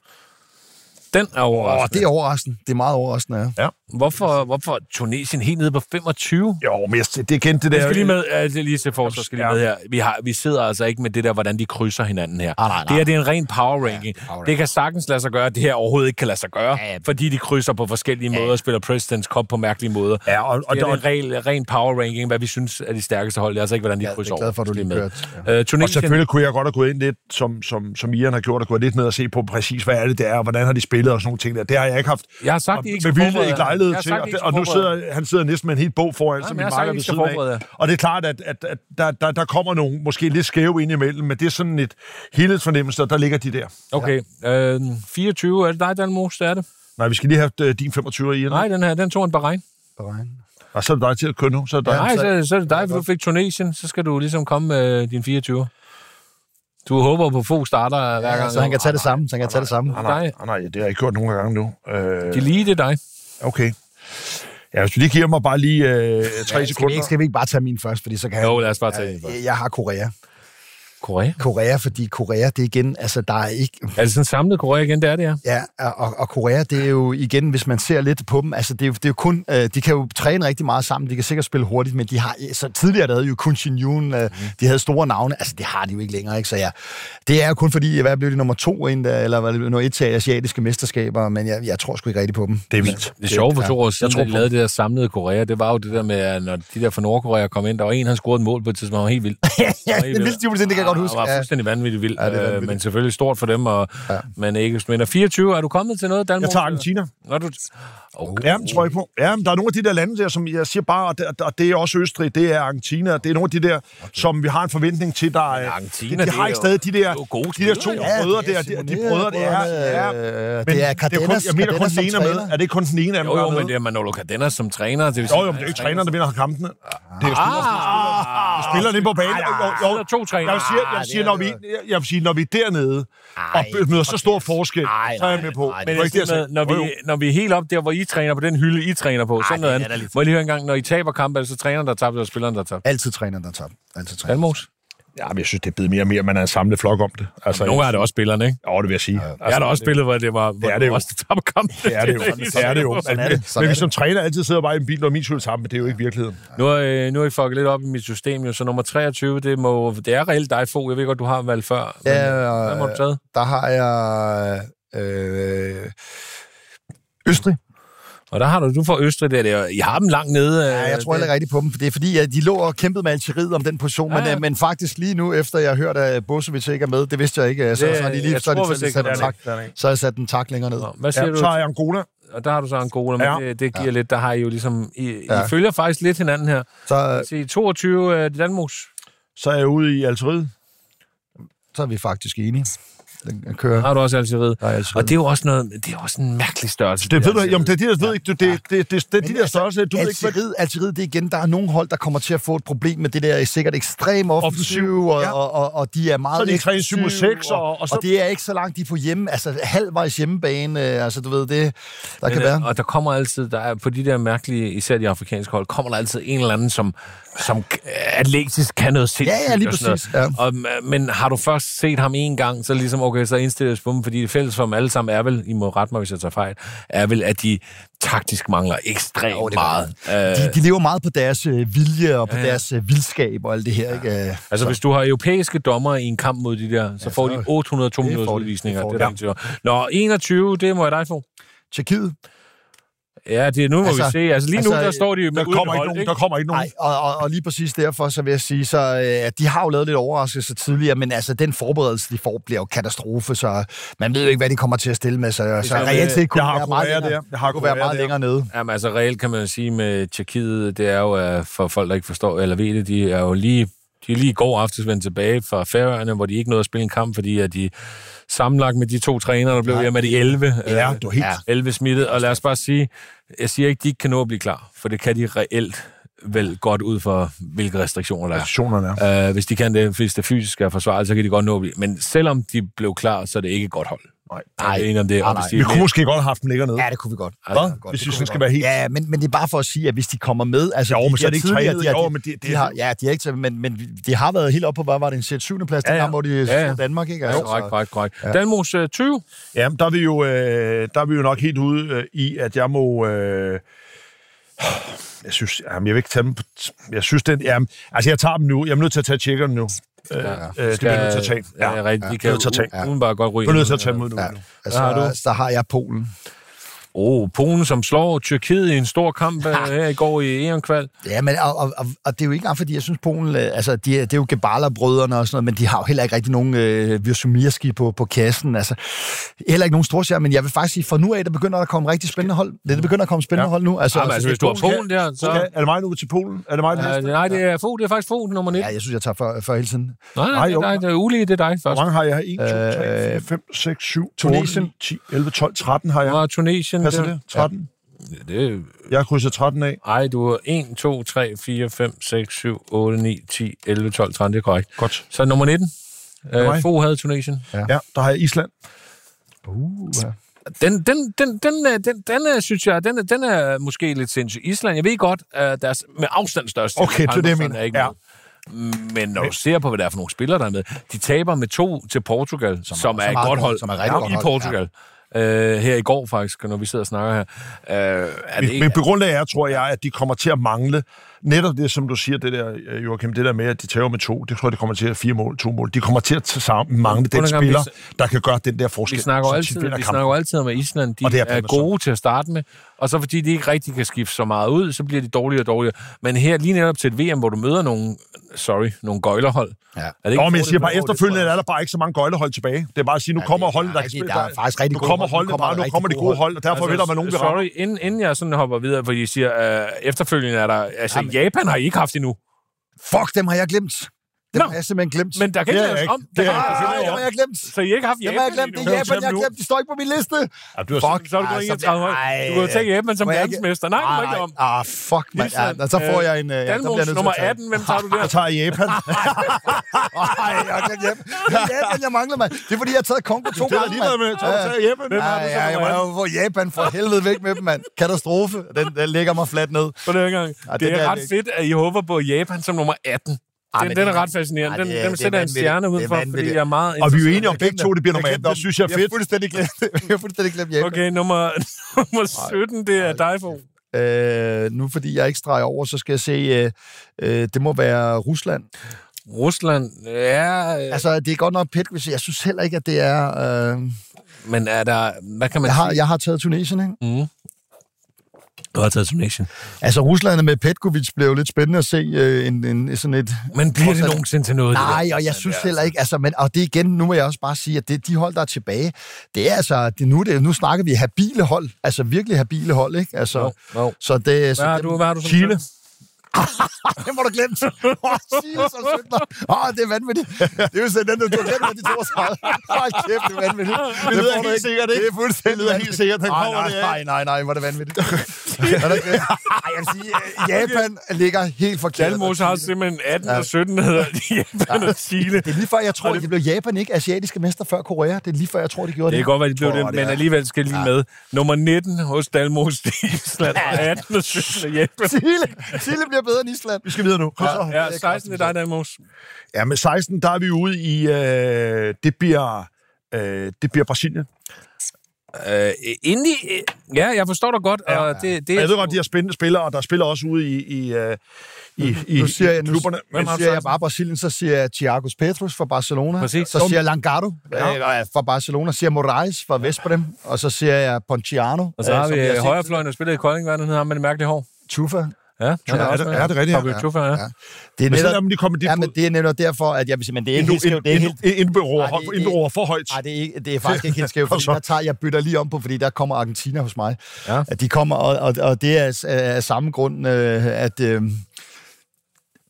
A: Den er
C: Ja. Åh,
A: overraskende.
C: det er overraskende. Det er meget overraskende, ja.
A: Hvorfor, hvorfor er Tunesien helt nede på 25?
B: Jo, men jeg, det er igen det der...
A: Jeg skal lige med, altså lige til forsvar skal lige
B: Ja.
A: med her. Vi, har, vi sidder altså ikke med det der, hvordan de krydser hinanden her.
C: Ah, nej, nej.
A: Det her det er en ren power ranking.
C: Ja, power ranking.
A: det kan sagtens lade sig gøre, det her overhovedet ikke kan lade sig gøre,
C: Ja, ja.
A: fordi de krydser på forskellige måder og spiller President's Cup på mærkelige måder.
B: Ja, og, og,
A: Og det
B: og,
A: er en ren, ren power ranking, hvad vi synes er de stærkeste hold. Det er altså ikke, hvordan de
C: Ja, det er
A: krydser
C: glad for, at du
A: Det er
C: lige
A: med. Øh,
B: og
A: Tunesien,
B: selvfølgelig kunne jeg godt have gået ind lidt, som, som, som Ian har gjort, og gået lidt ned og se på præcis, hvad er det, det er, og hvordan har de spillet og sådan nogle ting der. Det har jeg ikke haft
A: jeg har sagt, de ikke
B: med vilje ikke lejlighed
A: Jeg har
B: til,
A: sagt,
B: og,
A: de
B: det,
A: ikke
B: og nu
A: skal forberede.
B: sidder han sidder næsten med en helt bog foran,
A: Jamen, jeg
B: som min
A: har sagt,
B: marker
A: I
B: ved
A: skal
B: siden
A: forberede jer.
B: af. Og det er klart, at, at, at der, der, der kommer nogle måske lidt skæve ind imellem, men det er sådan et helhedsfornemmelse, og der ligger de der.
A: Okay, øh, 24, er det dig, Dalmos, der er det?
C: Mm.
B: Nej, vi skal lige have øh, din 25 i.
A: Nej, den her, den tog en Bahrein.
C: Bahrain.
B: Og så er det dig til at køre nu. Så er det dig.
A: Nej,
C: så-
A: så, så er det dig, for du fik Tunesien, så skal du ligesom komme med din 24. Du håber på få starter hver
C: Ja,
A: gang.
C: så han kan tage det samme, så han kan tage det samme.
B: Ah, nej, ah, nej, det har jeg ikke gjort nogen gange nu. Øh,
A: De lige det er dig.
B: okay. Ja, hvis du lige giver mig bare lige øh, tre
C: Ja, skal, vi
B: sekunder.
C: ikke, skal vi ikke bare tage min først, fordi så kan
A: Jo,
C: jeg... Øh,
A: lad os bare tage den først.
C: Jeg, jeg har Korea.
A: Korea?
C: Korea, fordi Korea, det er igen, altså der er ikke,
A: Er det sådan samlet Korea igen? Det er det, ja.
C: Ja, og, og Korea, det er jo igen, hvis man ser lidt på dem, altså det er jo, det er jo kun, øh, de kan jo træne rigtig meget sammen, de kan sikkert spille hurtigt, men de har, øh, så tidligere der havde jo Kun Shin Yoon,
B: Mhm.
C: øh, de havde store navne, altså det har de jo ikke længere, ikke? så ja, det er jo kun fordi, hvad blev de nummer to endda, eller var det nummer et til asiatiske mesterskaber, men jeg, jeg tror sgu ikke rigtigt på dem.
B: Det er vildt.
A: Det sjove for to år siden,
C: tror
A: da de
C: på-
A: lavede det der samlede Korea, det var jo det der med, at når de der fra Nordkorea kom ind, der var en, han scorede et mål på et tidspunkt, han var helt vildt.
C: ja, det er vildt, det kan jeg godt
A: Ah,
C: huske.
A: Det var
C: Ja.
A: fuldstændig vanvittigt vildt,
C: Ja, det er
A: ja,
C: vanvittigt.
A: men selvfølgelig stort for dem, og, ja. men ikke desto mindre. 24, er du kommet til noget, Danmark?
B: Jeg tager Argentina.
A: Nå, du... Okay.
B: Ja, men tror jeg på. Ja, men der er nogle af de der lande der, som jeg siger bare, og det, og det er også Østrig, det er Argentina, og det er nogle af de der, okay. som vi har en forventning til, der er...
A: Argentina,
B: de, de
A: det
B: har
A: er
B: ikke
A: jo-
B: stadig de
A: det er
B: der,
A: jo gode
B: de der to
A: spillere,
B: ja, brødre der, de, de brødre, det er... Ja,
C: ja,
B: men
C: øh, det er
B: kun,
C: Cardenas,
B: jeg mener kun
C: Cardenas
B: den ene
C: som
B: er med.
C: træner.
B: Er det ikke kun den ene af dem,
A: Jo,
B: der
A: jo,
B: er
A: men
B: med?
A: det er Manolo Cardenas som træner. Det vil
B: Jo,
A: sige,
B: jo, men det er jo ikke
A: han
B: træneren, der vinder kampene. Det er jo spillere,
A: Ah,
B: spilleren inde på banen. Jo, jo,
A: Der er to trænere. Ah,
B: Jeg vil sige, jeg vil sige, når, vi, jeg vil sige når vi er dernede, og møder så stor forskel,
C: Ej,
B: så er jeg
C: nej,
B: med på.
C: nej,
B: Det
A: Men
B: var
A: jeg
B: ikke det, jeg
A: siger med,
B: sagde.
A: når,
B: Jo,
A: vi,
B: jo.
A: når vi er helt op der, hvor I træner på den hylde, I træner på, sådan noget
C: det er da
A: andet.
C: lidt-
A: Må jeg lige høre en gang, når I taber kamp, er det så træneren, der tabte, eller spilleren, der tabte?
C: Altid træner, der tager. Altid træner.
A: Dalmos?
B: Ja, men jeg synes, det er blevet mere og mere, man er en samlet flok om det. Altså,
A: Nogle gange er det også spillerne, ikke?
B: Jo, det vil jeg sige. Altså,
A: Jeg har da også spillet, hvor det var hvor
B: det er det jo.
A: også tabte kampen.
B: Det er det jo. Det er det jo.
C: Sådan er det. Sådan
B: Men
C: er
B: vi
C: det.
B: som træner altid sidder bare i en bil, og min skyld sammen, men det er jo ikke virkeligheden.
A: Nu har, øh, nu har I fucket lidt op i mit system, jo, så nummer 23, det, må, det er reelt dig, Fogh. Jeg ved godt, du har valgt før. Men,
C: Ja,
A: hvad må du tage?
C: Der har jeg... Øh, Østrig.
A: Og der har du, du får Østrig der, der. I har dem langt nede. øh,
C: Ja, jeg tror heller ikke rigtigt på dem, for det er fordi, at de lå og kæmpede med Algeriet om den position, ja,
A: Ja,
C: ja.
A: ja.
C: Men, øh, men faktisk lige nu, efter jeg har hørt, at Bosovic ikke er med, det vidste jeg ikke, øh, så,
A: Det-
C: så har de lige
A: jeg
C: så har de
A: tror
C: selv
A: vist ikke,
C: sat
A: det
C: en
A: er
C: tak,
A: det.
B: Den er ikke.
C: så har jeg sat en tak længere ned.
A: Hvad siger
B: Ja,
A: du?
B: så er jeg Angola.
A: Og der har du så Angola, men
B: Ja.
A: ja. det, det giver ja. lidt, der har I jo ligesom... I, ja.
C: Ja.
A: I følger faktisk lidt hinanden her.
C: Så,
A: Se, 22 øh, det er Danmarks.
B: Så er jeg ude i Algeriet.
C: så er vi faktisk enige. Den den kører.
A: Har du også altid ved.
C: Der er altid
A: Og det er jo også, noget, det er jo også en mærkelig størrelse.
B: Det ved du,
A: altid
B: jamen, det er de der, ved ikke, du, det, det, det, det, er de
C: Men
B: der
C: altså,
B: størrelser, du ved ikke, hvad
C: Algeriet, Algeriet, det er igen, der er nogle hold, der kommer til at få et problem med det der øh, sikkert ekstrem offensiv, og,
B: ja.
C: ja. og, og, og de er meget
B: Så er de tre,
C: eksplosive,
B: syv, seks, og- og
C: og,
B: så-
C: og det er ikke så langt, de er på hjemme, altså halvvejs hjemmebane, øh, altså du ved, det der
A: Men,
C: kan
A: øh,
C: være.
A: Og der kommer altid, der er, på de der mærkelige, især de afrikanske hold, kommer der altid en eller anden, som, som k- atletisk kan noget sindssygt.
C: Ja, ja, lige
A: og sådan
C: præcis,
A: noget. Og, m- men har du først set ham en gang, så ligesom, okay, så indstilles på dem, fordi det fælles for dem alle sammen er vel, I må rette mig, hvis jeg tager fejl, er vel, at de taktisk mangler ekstremt
C: Jo, det er
A: meget. Øh,
C: De, de lever meget på deres øh, vilje og på ja, ja. deres øh, vildskab og alt det her, ikke? Øh,
A: Altså, hvis du har europæiske dommer i en kamp mod de der, så får de 800 2
C: det
A: minutters
C: får de.
A: udvisninger.
C: Det får
A: Det er der ingen tvivl om. Nå, 21, det må jeg dig få.
C: Tjekkiet,
A: Ja, det er nu, altså, må
C: Altså,
A: vi se. Altså, lige altså, nu,
C: altså,
A: der står de med
B: der
A: uden
B: kommer ikke
A: hold,
B: nogen, der kommer ikke nogen.
C: Nej, og, og, og lige præcis derfor, så vil jeg sige, så øh, de har jo lavet lidt overraskelse tidligere, men altså den forberedelse, de får, bliver jo katastrofe, så man ved jo ikke, hvad de kommer til at stille med, så, så
A: er-
C: reelt set kunne
B: Jeg har
C: være meget,
B: Korea
C: længere,
B: der. Jeg har
C: kunne være
B: Korea
C: meget
B: der.
C: længere nede.
A: Jamen altså reelt kan man jo sige med Tjekkiet, det er jo øh, for folk, der ikke forstår eller ved det, de er jo lige, de er lige i går aftes vendt tilbage fra Færøerne, hvor de ikke nåede at spille en kamp, fordi at de sammenlagt med de to trænere, der blev hjemme med de 11.
B: Ja,
A: øh,
B: du er helt-
A: 11 smittet, og lad os bare sige, jeg siger ikke, de ikke kan nå at blive klar, for det kan de reelt vel godt ud for, hvilke restriktioner der er.
B: Stationerne er.
A: Uh, hvis de kan det, hvis det fysisk er forsvaret, så kan de godt nå at blive. Men selvom de blev klar, så er det ikke et godt hold.
B: Nej.
A: Nej, det er en om det.
C: Nej,
A: og hvis
C: nej.
A: de
B: Vi
A: er
B: kunne måske godt have haft dem længere nede.
C: Ja, det kunne vi godt.
A: Hvad?
C: Det kunne vi godt.
B: Hvis
C: Det
B: vi
C: kunne
B: sådan
C: vi
B: skal
C: godt.
B: være helt...
C: Ja, men, men det er bare for at sige, at hvis de kommer med... Altså,
B: Jo, men så er
C: de
B: det ikke
C: tidligere,
B: trænet.
C: De har,
B: Jo, men det- det-
C: de har, ja, de har ikke, taget- men, men de har været helt oppe på, hvad var det, en 7. plads,
A: Ja,
C: ja,
A: ja.
C: ja. der hvor de
A: Ja, ja.
C: slog Danmark, ikke? Altså,
A: Ja, korrekt, korrekt, korrekt. Ja. Danmos øh, 20.
B: Jamen, der er vi jo, øh, der er vi jo nok helt ude øh, i, at jeg må... Øh, jeg synes, jamen, jeg vil ikke tage dem på... Jeg synes, den, jamen, altså, jeg tager dem nu. Jeg er nødt til at tage tjekkerne nu. Øh, øh, det bliver jeg nødt til at tage.
A: Ja,
B: Ja,
A: ja,
B: jeg
A: rigtigt. De kan
B: er nødt til at tage.
A: jo u- udenbart godt ryge.
B: er nødt til at tage dem ud nu.
C: Ja,
B: nu.
C: altså,
A: Hvad har du?
C: har der har jeg Polen.
A: Åh, oh, Polen, som slår Tyrkiet i en stor kamp øh, her i går i EM-kval.
C: Ja, men og, og, og, og det er jo ikke engang, fordi jeg synes, Polen... øh, Altså, de, er- det er jo Gebala-brødrene og sådan noget, men de har jo heller ikke rigtig nogen øh, Virsumirski på, på kassen. Altså, heller ikke nogen storstjerner, men jeg vil faktisk sige, fra nu af, der begynder der at komme rigtig spændende hold. Det, det begynder at komme spændende ja. hold nu. Altså,
A: Jamen, altså, hvis du har Polen der, så...
B: Skal, er det mig nu til Polen? Er det mig den
A: Øh,
B: næste?
A: nej, det er få, det er faktisk få, nummer 19.
C: Ja, jeg synes, jeg tager for, for hele tiden.
A: Nej, nej,
B: Nej,
A: det er
B: jo.
A: dig, det er Uli, det er dig
B: Hvor
A: først.
B: mange har jeg? 1, 2, 3, 4,
C: Øh,
B: 5, 6, 7, 8,
C: Tunesien.
B: 9, 10, 11, 12, 13 har jeg.
A: Og Tunesien,
B: Passer
A: den-
B: det? 13?
A: det?
B: Jeg krydser 13 af.
A: Ej, du er 1, 2, 3, 4, 5, 6, 7, 8, 9, 10, 11, 12, 13, det er korrekt.
B: Godt.
A: Så nummer 19. Øh,
B: mig.
A: Fo havde Tunesien.
B: Ja, der har jeg Island.
C: Uh, ja.
A: Den, den, den, den, øh, den, den, øh, synes jeg, den, er- den er måske lidt sindssyg. Island, jeg ved godt, øh, deres med afstand største.
B: Okay, det er det, jeg
A: Palmerson
B: mener.
A: er ikke
B: Ja.
A: med. Men når du ser på, hvad der er for nogle spillere, der er med, de taber med to til Portugal, som, som er
C: som
A: et
C: er
A: godt
C: godt,
A: hold,
C: som er rigtig godt
A: i
C: hold,
A: Portugal. Øh, her i går faktisk, når vi sidder og snakker her. Øh, er det,
B: Men, men på grund af jer, tror jeg, at de kommer til at mangle netop det, som du siger, det der, øh, Joachim, det der med, at de tager med to, det tror jeg, de kommer til at fire mål, to mål. De kommer til at tage sammen mangle den
A: Undergang,
B: spiller,
A: vi
B: der kan gøre den der forskel.
A: vi snakker, jo
B: som
A: altid,
B: vinder
A: vi
B: kampen.
A: snakker jo altid om, at Island de
B: Og det
A: er,
B: er
A: er
B: Palmerson.
A: gode til at starte med, og så fordi de ikke rigtig kan skifte så meget ud, så bliver de dårligere og dårligere. Men her, lige netop til et VM, hvor du møder nogle, sorry, nogle gøjlerhold.
C: Ja.
A: Er det ikke
B: Nå, men jeg siger
A: fordel
B: bare,
A: for-
B: efterfølgende er der bare ikke så mange gøjlehold tilbage. Det er bare at sige, nu
C: Ja,
B: kommer
C: det er
B: holdet, der kan
C: rigtig-
B: spille.
C: der er faktisk rigtig
B: nu
C: gode
B: kommer
C: hold. Nu
B: holdet
C: kommer
B: bare,
C: der
B: nu
C: rigtig
B: kommer de
C: gode
B: gode
C: hold. Altså,
B: hold, og derfor vil der være nogen, der rammer.
A: Altså, Sorry, inden, inden jeg sådan hopper videre, fordi I siger, øh, efterfølgende er der... Altså,
C: Jamen.
A: Japan har I ikke haft endnu.
C: Fuck, dem har jeg glemt. Dem
A: Nå.
C: har jeg simpelthen glemt.
A: Men der kan ikke
B: Det er
A: laves
B: ikke-
A: om.
B: det
A: Der
B: er
A: kan
B: ikke-
A: ikke laves
C: Ah,
A: om.
C: dem har jeg glemt.
A: Så I ikke har haft
C: Dem
A: Japan
C: har jeg glemt. Det
A: endnu?
C: er Japan, jeg har
A: Nu.
C: glemt. De står ikke på min liste.
B: Ja, du har
C: Fuck.
A: Så er du gået
C: Ej,
A: 31 højt.
C: ej,
A: Du kunne jo tage Japan som
C: må jeg ikke-
A: verdensmester. Nej, du må ikke
C: Ej,
A: om.
C: Ah, fuck, mand. Ja,
A: Island,
C: så får
A: øh,
C: jeg en... øh, Ja, den bliver jeg nødt
A: Danmarks
C: til at
A: nummer
C: tage.
A: 18, hvem tager du der?
B: Jeg tager Japan.
C: Ej, jeg har glemt Japan. Det er Japan, jeg mangler, mand. Det er, fordi jeg har taget Kongo to
B: Det er
C: gange,
B: lige
C: mand.
B: med, at
C: Ja.
B: tage Japan. Hvem
C: Ja,
B: har du så
C: ja, jeg
B: nummer
C: må
B: 18?
C: jo få Japan for helvede væk med dem, mand. Katastrofe. Den, den ligger mig fladt ned.
A: på den gang.
C: Ej,
A: det,
C: den
A: er
C: der-
A: ret fedt, at I håber på Japan som nummer 18.
C: Ej,
A: den,
C: men
A: den
C: det
A: Ah, er
C: er-
A: ret fascinerende.
C: Ej,
A: Den,
C: det er-
A: dem
C: det er
A: sætter jeg en
C: vanvittigt.
A: stjerne
C: Det er
A: udenfor, fordi
C: vanvittigt.
A: jeg er meget
B: Og vi er jo
A: interesseret.
B: enige om, at begge to det bliver nummer 18. Det synes jeg er
C: Jeg
B: fedt.
C: har fuldstændig glemt, jeg har fuldstændig glemt Japan.
A: Okay, nummer, nummer 17, det er dig, for.
C: Øh, nu fordi jeg ikke streger over, så skal jeg se, øh, øh, det må være Rusland.
A: Rusland, ja... øh,
C: Altså, det er godt nok pæt, jeg synes heller ikke, at det er... Øh,
A: Men er der... Hvad kan man
C: jeg, har,
A: sige?
C: jeg har taget Tunesien, ikke?
A: Du har taget Tunesien.
C: Altså, Rusland med Petkovic blev jo lidt spændende at se øh, en, en, sådan et...
A: Men bliver det
C: Rusland-
A: nogensinde til noget? det der?
C: Nej, og jeg synes heller ikke, altså, men, og det igen, nu må jeg også bare sige, at det, de hold, der er tilbage, det er altså, det, nu, er det, nu snakker vi habile hold, altså virkelig habile hold, ikke? Altså,
A: Jo, jo.
C: Så det, så
A: Hvad har
C: dem-
A: du, hvad har du som
B: Chile.
A: sådan?
C: det må du glemme. Åh, Silas og Sønder. Åh, det er vanvittigt. Det er jo sådan, den, du har glemt, at de 32. Hold kæft, det er vanvittigt. Det,
B: lyder
C: får du
B: helt
C: ikke.
B: sikkert, ikke?
C: Det er fuldstændig
B: Det lyder helt
C: vanvittigt.
B: sikkert, han
C: Ej,
B: kommer
C: nej,
B: det af.
C: nej, nej, nej, hvor er det vanvittigt. er det ikke det? Ej, jeg vil sige, øh, Japan ligger helt forkert.
A: Dalmose har simpelthen 18 og 17 hedder i Japan og Chile.
C: Det er lige før, jeg tror,
A: Og det-
C: det... det blev Japan ikke asiatiske mester før Korea. Det er lige før, jeg tror, det gjorde det.
A: Det kan godt være, de blev det,
C: Åh,
A: men
C: er-
A: alligevel skal jeg lige med. Nummer 19 hos Dalmos i Island, og 18 og 17 i Japan.
C: Chile, Chile bliver bedre end Island.
B: Vi skal videre nu. Kom så.
A: Ja, 16 er dig, Dalmos.
B: Ja, med 16, der er vi ude i... Øh, det bliver... Øh, det bliver Brasilien.
A: Øh, endelig, øh, ja, jeg forstår dig godt, og det, det
B: Og
A: er...
B: jeg ved godt, de har spændende spillere, og der spiller også ude i, i, øh, i, i,
C: Nu siger jeg,
B: i
C: nu,
B: klubberne.
A: Hvem har
C: nu
A: du
C: siger jeg
A: sagt?
C: bare Brasilien, så siger jeg Thiagos Petrus fra Barcelona.
A: Præcis.
C: Så siger jeg Langardo ja. øh, fra Barcelona. Siger Moraes fra Vestbrem. Og så siger jeg Ponciano.
A: Og så har
C: øh, som
A: vi
C: jeg
A: øh,
C: set.
A: højrefløjen, der spiller i Kolding, hvad er det, han hedder, ham med det mærkelige hår.
C: Tufa.
A: Ja, han
B: Ja, er
A: også
B: det-
A: med.
B: er det rigtigt, ja.
A: Fabio Tuffa, ja.
C: Det er
B: Men så
C: netop,
B: lader dem lige komme med dit
C: ja,
B: bud.
C: men det er netop derfor, at jeg vil sige, men det er ikke helt skævt. Det er helt Ej, det- det-
B: Indberor for højt.
C: Nej, det er, ikke, det er faktisk ikke helt skævt, fordi
B: så-
C: der tager, jeg bytter lige om på, fordi der kommer Argentina hos mig.
A: Ja.
C: At De kommer, og, og, og det er s- af af samme grund, øh, at øh,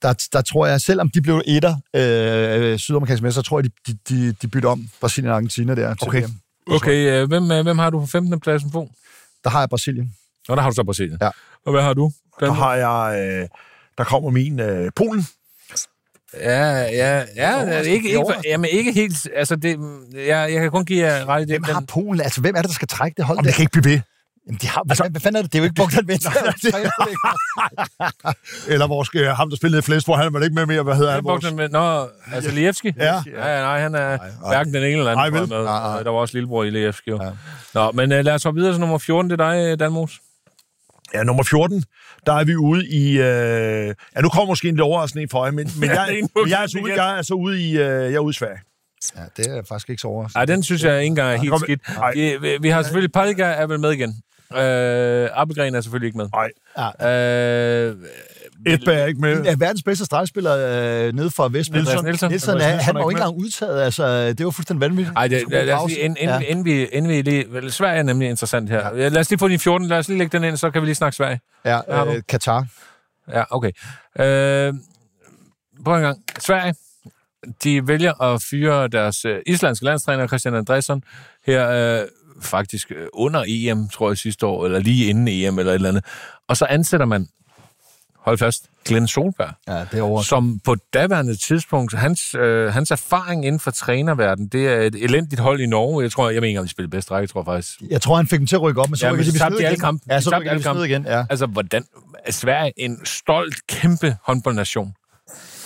C: der, der tror jeg, selvom de blev etter øh, sydamerikanske mester, så tror jeg, de, de, de, de bytter om Brasilien og Argentina der. til
B: Okay.
C: VM.
A: Okay, øh, hvem, øh, hvem har du på 15. pladsen på?
C: Der har jeg Brasilien.
A: Nå, der har du så Brasilien.
C: Ja.
A: Og hvad har du?
B: Der
A: Dalmos?
B: har jeg... Øh, der kommer min øh, Polen.
A: Ja, ja, ja,
B: altså,
A: ikke,
C: overraskende. Det er
A: ikke,
C: overraskende.
A: jamen ikke helt, altså det, jeg, jeg kan kun give jer ret i det.
C: Hvem har
A: den-
C: Polen? Altså, hvem er det, der skal trække det hold?
B: Om det
C: Der?
B: kan ikke blive ved.
C: Jamen, de har, altså, hvad fanden er det? Det er jo ikke Bogdan Vendt.
B: Eller vores, øh, ham, der spillede flest, hvor han var ikke med mere. Hvad hedder han? Vores?
A: Bogdan, men, nå, altså Lievski?
B: Ja.
A: ja. nej, han er hverken den ene eller
B: Nej,
A: anden.
B: vel?
A: tror jeg, med.
C: Nej, nej.
A: Der var også lillebror i Lievski, jo. Nå, men øh, lad os hoppe videre til nummer 14, det er dig, øh, Danmos.
B: Ja, nummer 14. Der er vi ude i... Øh, ja, nu kommer måske en lidt overraskende en for jer, men, men
A: det er
B: jeg,
A: en
B: men jeg,
A: buket
B: er, så ude,
A: igen.
B: jeg er så ude i, øh, jeg er ude i Sverige.
C: ja, det er faktisk ikke så overraskende.
A: Nej, den synes jeg ikke engang er helt
B: kom-
A: skidt.
B: Nej.
A: Vi, vi, vi har selvfølgelig, Palga er vel med igen. Øh, Appelgren er selvfølgelig ikke med.
B: Nej,
A: Øh,
B: Edberg er ikke med.
C: En af verdens bedste stregspillere øh, nede fra Vestby.
A: Nielsen. Nielsen. Andreas
C: Nielsen, han,
A: Nielsen
C: han var
A: er
C: jo
A: ikke
C: ikke engang udtaget. Altså, det var fuldstændig vanvittigt.
A: ej,
C: Han
A: det,
C: skulle
A: lad,
C: på
A: lad os
C: pausen.
A: lige, inden,
C: Ja.
A: ja. inden, vi, inden vi lige... Vel, Sverige er nemlig interessant her. Ja. Lad os lige få din 14, lad os lige lægge den ind, så kan vi lige snakke Sverige. Hvad har
C: Ja,
A: du?
C: øh, Katar.
A: Ja, okay. Øh, prøv en gang. Sverige, de vælger at fyre deres øh, islandske landstræner, Christian Andresson, her øh, faktisk øh, under EM, tror jeg, sidste år, eller lige inden EM, eller et eller andet. Og så ansætter man, hold fast, Glenn Solberg,
C: Ja, det er over.
A: som på daværende tidspunkt, hans, øh, hans erfaring inden for trænerverden, det er et elendigt hold i Norge. Jeg tror, jeg mener ikke, om de spiller bedst række, jeg tror faktisk.
C: Jeg tror, han fik dem til at rykke op, men så
A: Ja, men
C: rykker
A: de
C: de
A: tabte
C: besnede
A: de alle
C: igen.
A: kampe.
C: Ja,
A: De
C: så
A: tabte
C: rykker de
A: alle
C: besnede igen. Ja.
A: Altså, hvordan er Sverige en stolt, kæmpe håndboldnation?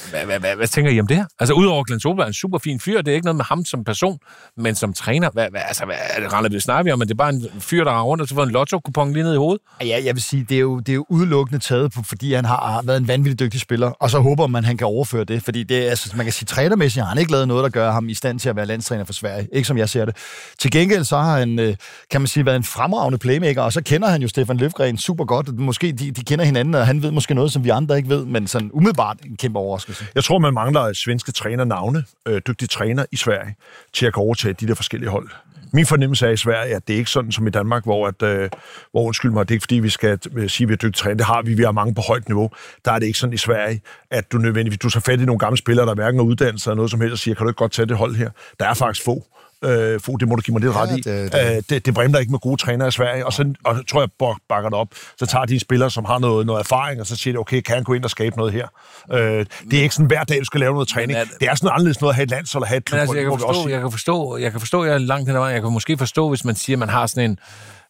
A: Hvad, hvad, hvad, hvad tænker I om det her? Altså, udover Glenn Solberg er en super fin fyr, det er ikke noget med ham som person, men som træner. Hvad, hvad, altså, hvad er det, render vi snakker vi om? Men det er bare en fyr, der har rundt og så får en lotto-kupon lige ned i hovedet.
C: Ja, jeg vil sige, det er jo, det er jo udelukkende taget på, fordi han har, har været en vanvittig dygtig spiller, og så håber man, han kan overføre det, fordi det, er- altså, man kan sige, trænermæssigt har han ikke lavet noget, der gør ham i stand til at være landstræner for Sverige, ikke som jeg ser det. Til gengæld så har han, øh, kan man sige, været en fremragende playmaker, og så kender han jo Stefan Løfgren super godt, måske de, de kender hinanden, og han ved måske noget, som vi andre ikke ved, men sådan umiddelbart en kæmpe overraskelse.
B: Jeg tror, man mangler svenske trænernavne, øh, dygtige træner i Sverige, til at kunne overtage de der forskellige hold. Min fornemmelse er i Sverige, at det er ikke sådan som i Danmark, hvor, at, øh, hvor undskyld mig, det er ikke fordi, vi skal øh, sige, at vi er dygtige træner. Det har vi, vi har mange på højt niveau. Der er det ikke sådan i Sverige, at du nødvendigvis, du tager fat i nogle gamle spillere, der hverken har uddannelse eller noget som helst, og siger, kan du ikke godt tage det hold her? Der er faktisk få. Øh, få, det må du give mig lidt ret i.
C: det- det-
B: Øh, det, det brimler ikke med gode trænere i Sverige, og så og så tror jeg, Borg bakker det op. Så tager de en spiller, som har noget, noget erfaring, og så siger de, okay, kan han gå ind og skabe noget her? Øh, det er ikke sådan, hver dag du skal lave noget træning.
A: Men
B: Er,
A: er det-
B: det er sådan anderledes noget at have et landshold og have et klub.
A: Men altså, jeg kan
B: hvor vi også
A: forstå, jeg kan forstå, jeg kan forstå, jeg er langt hen ad vejen. Jeg kan måske forstå, hvis man siger, at man har sådan en,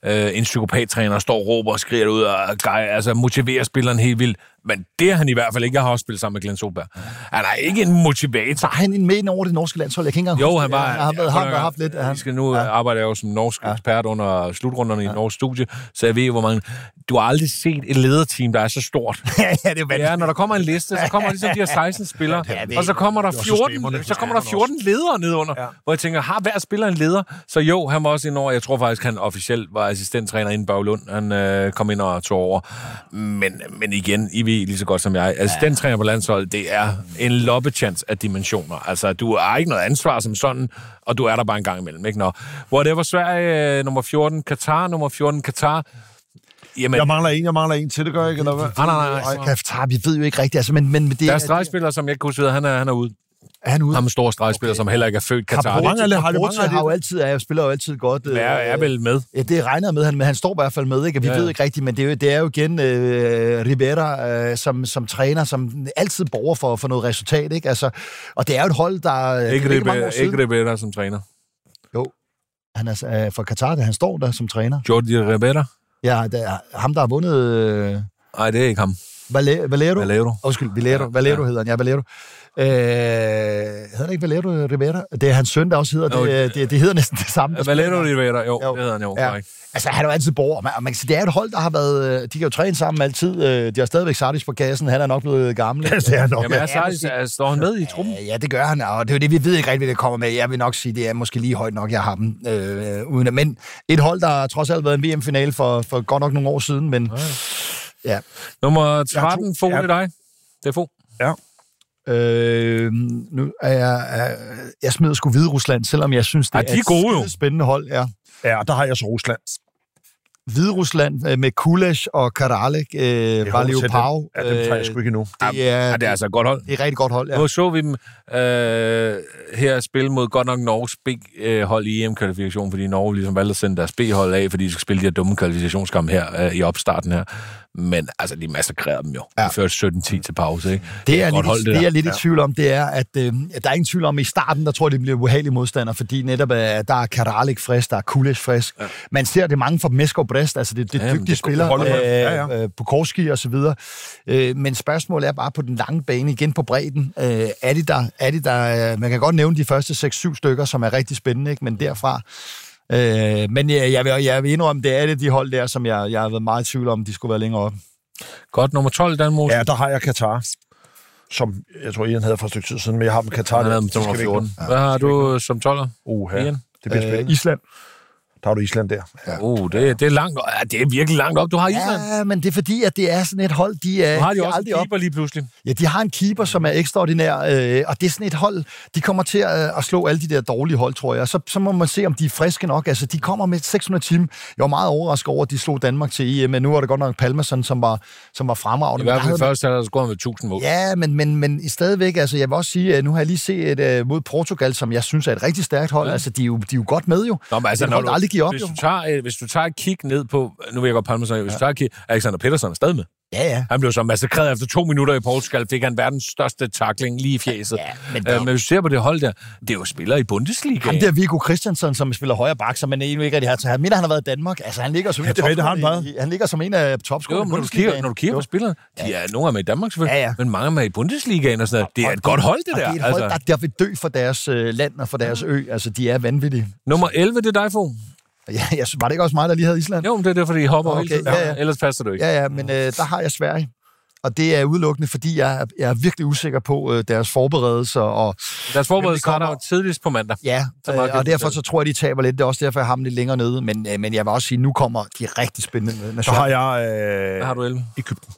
A: øh, en psykopattræner, der står og råber og skriger ud og gej, altså, motiverer spilleren helt vildt. Men det er han i hvert fald ikke. Jeg har også spillet sammen med Glenn Solberg. Han er ikke en motivator.
C: Så har han en med ind over det norske landshold, jeg kan ikke engang
A: Jo,
C: huske
A: han
C: det.
A: var...
C: Han har været,
A: prøv
C: har
A: at
C: været
A: høre,
C: haft lidt.
A: vi skal nu ja. arbejder jeg jo som norsk ekspert under slutrunderne i ja. Norsk Studie, så jeg ved jo, hvor mange... Du har aldrig set et lederteam, der er så stort.
C: ja, det er jo vanvittigt.
A: Ja, når der kommer en liste, så kommer ligesom de her 16 spillere,
C: Ja, det er-
A: og så kommer der
B: det er også
A: 14,
B: systemerne,
A: så kommer der
B: systemerne
A: 14 ledere nedenunder, ja. hvor jeg tænker, har hver spiller en leder? Så jo, han var også ind over, jeg tror faktisk, han officielt var assistenttræner inden Baglund, han øh, kom ind og tog over. Men, men igen, I ved lige så godt som jeg, assistenttræner på landsholdet, det er en loppechance af dimensioner. Altså, du har ikke noget ansvar som sådan, og du er der bare en gang imellem, ikke? Nå. Whatever, Sverige øh, nummer 14, Katar nummer 14, Katar, Jamen,
B: Jeg mangler en, jeg mangler en til, det gør jeg ikke, eller hvad?
A: nej, nej, nej.
C: Og Kaftar, vi ved jo ikke rigtigt, altså, men, men det
A: Der er stregspillere, som jeg ikke kunne sige, han er, han er ude.
C: er han ude.
A: Ham store stregspiller, okay. som heller ikke er født Katar.
B: Hvor mange af det- har det-
C: Bruce
B: mange af
C: har jo
B: det-
C: altid, er, spiller jo altid godt. øh,
A: Det er, er vel med.
C: Ja, det regner jeg med, han, men han står i hvert fald med, ikke? Og vi
A: Ja,
C: ja,
A: ja.
C: ved ikke rigtigt, men det er jo, det er jo igen øh, Ribera, øh, som, som træner, som altid borger for, for noget resultat, ikke? Altså, og det er jo et hold, der... øh, det er
A: Ikke
C: ikke mange år
A: Ribera,
C: siden-
A: ikke Ribera som træner.
C: Jo. Han er øh, fra Katar, da han står der som træner.
A: Jordi Ribera?
C: Ja, det er ham, der har vundet... Øh,
A: Nej, det er ikke ham.
C: Vale- Valero?
A: Hvad laver du?
C: Undskyld, Valero, Valero hedder han. Ja, Valero. Øh, hedder han ikke Valero Ribera? Det er hans søn, der også hedder
A: Jo,
C: det. øh, Det, det hedder næsten det samme. der
A: Valero
C: spiller.
A: Rivera, jo,
C: Jo.
A: jo. det hedder han jo.
C: Ja.
A: Ja.
C: Altså, han er jo altid borger. Man, man kan sige, det er et hold, der har været... øh, De kan jo træne sammen altid. øh, De har stadigvæk Sardis på gassen. Han er nok blevet gammel. ikke?
B: Altså, det er nok.
A: Jamen, er
C: Ja,
A: Sardis, er, står han med i truppen?
C: Ja, det gør han, og det er jo det, vi ved ikke rigtigt, hvad det kommer med. Jeg vil nok sige, det er måske lige højt nok, jeg har dem. Øh, uden at, men et hold, der har trods alt været en VM-finale for, for godt nok nogle år siden, men ja.
A: Nummer 13, Fog,
B: Ja.
A: det er dig. Det er Fog.
C: Øh, nu er jeg, er, jeg smider sgu Hvide Rusland, selvom jeg synes, det
A: Ej, de er gode jo.
C: et skide spændende hold. Ja.
B: Ja, og der har jeg så Rusland.
C: Hvide Rusland øh, med Kulesh og Karalik, øh,
B: Jeg håber
C: Valio
B: til
C: Pau.
B: Dem, ja, dem tager jeg sgu ikke endnu.
C: det, er,
A: Ja, det er altså et godt hold.
C: det er et rigtig godt hold, ja.
A: Nu så vi dem øh, her spille mod godt nok Norges B-hold i EM-kvalifikationen, fordi Norge ligesom valgte at sende deres B-hold af, fordi de skulle spille de her dumme kvalifikationskampe her øh, i opstarten her. Men altså, de massakrerede dem jo. Ja.
C: Ja.
A: De førte 17-10 til pause, ikke?
C: Det,
A: er
C: er
A: et godt
C: lidt,
A: hold, det
C: det, det
A: der.
C: jeg er lidt i tvivl om, det er, at øh, at der er ingen tvivl om, at i starten, der tror jeg, det bliver ubehagelige modstandere, fordi netop øh, der er Karalik frisk, der er Kules frisk. Ja. Man ser det mange fra Meskov Brest, altså det, det er
A: Jamen,
C: dygtige
A: det kunne
C: spillere,
B: holde med. Ja,
C: Øh, øh, Bukorski og så videre. Øh, men spørgsmålet er bare på den lange bane, igen på bredden, øh, er det der, er det der øh, man kan godt nævne de første 6-7 stykker, som er rigtig spændende, ikke? men derfra... Øh, men jeg, jeg, vil, jeg vil indrømme, det er det de hold der, som jeg, jeg har været meget i tvivl om, de skulle være længere oppe.
A: Godt, nummer 12, Danmark. Ja.
B: Ja, der har jeg Katar, som jeg tror, Ian havde for et stykke tid siden, men jeg har dem Katar.
A: Han
B: der.
A: havde dem
B: Det
A: til
B: skal vi
A: nummer
B: ikke
A: 14. Hvad har du som 12'er?
B: Oha,
A: Ian? Øh,
B: det bliver spændende.
C: Øh, Island.
B: Der har du Island der.
A: Ja. Uh, det, det, er langt, ja, det er virkelig langt op. Du har Island. Ja.
C: Ja, men det er fordi, at det er sådan et hold, de er,
A: Nu har de
C: de er
A: også en
C: aldrig op.
A: keeper lige pludselig.
C: Ja, de har en keeper, som er ekstraordinær, øh, og det er sådan et hold, de kommer til at, øh, at slå alle de der dårlige hold, tror jeg. Og Så, så må man se, om de er friske nok. Altså, de kommer med 600 timer. Jeg var meget overrasket over, at de slog Danmark til EM, men nu var det godt nok Palmerson, som var, som var
A: I
C: fremragende. Men
A: hvert
C: der
A: fald
C: havde
A: i første halvdel scorede han med 1000 mål.
C: Ja, men, men, men stadigvæk, altså jeg vil også sige, at nu har jeg lige set et, uh, mod Portugal, som jeg synes er et rigtig stærkt hold. Ja. Altså, de er, jo, de er jo godt med jo.
A: Nå, men altså,
C: det er
A: når
C: hold,
A: du,
C: der aldrig giver op
A: hvis
C: jo.
A: du, tager, øh, hvis du tager et kig ned på... Nu vil jeg godt palme sig. Hvis du tager et kig... Alexander Petersen er stadig med.
C: Ja, ja.
A: Han blev så massakreret efter to minutter i Portugal, fik han verdens største takling lige i fjeset. Ja, men,
C: men
A: øh,
C: der-
A: men hvis du ser på det hold der, det er jo spillere i Bundesliga.
C: Ham der Viggo Christensen, som spiller højre bak, som man endnu ikke rigtig har til. Han mener, han har været i Danmark. Altså, han ligger som, en, af
B: det er rigtigt,
C: topscorerne
B: har han
C: i- han ligger som en af
A: jo,
C: topscorerne i
A: men når du
C: Bundesligaen.
A: kigger, når du kigger på
C: Jo.
A: spillerne, de er, nogle af dem er i Danmark selvfølgelig,
C: Ja, ja.
A: men mange af dem er i Bundesligaen og sådan noget. Det er et godt hold, det
C: Og
A: der.
C: det er et hold,
A: altså.
C: der, der vil dø for deres øh, land og for deres ø. Altså, de er vanvittige.
A: Nummer 11, det er dig, Fogh.
C: Ja, jeg, synes- var det ikke også mig, der lige havde Island?
A: Jo, men det er derfor, de hopper okay,
C: Okay,
A: hele tiden.
C: ja, ja.
A: Ellers passer du ikke.
C: Ja, ja, men øh, der har jeg Sverige. Og det er udelukkende, fordi jeg, er- jeg er virkelig usikker på øh, deres forberedelser. Og,
A: Deres forberedelse
C: Jamen, det kommer-
A: starter jo tidligst på mandag.
C: ja,
A: Så
C: øh,
A: meget kan
C: og
A: du
C: derfor
A: fortælle.
C: så tror jeg, de taber lidt. Det er også derfor, jeg har dem lidt længere nede. Men, øh, men jeg vil også sige, nu kommer de rigtig spændende
B: Så
C: nationer.
B: har jeg
A: Hvad
B: øh,
A: har du 11?
B: Ægypten.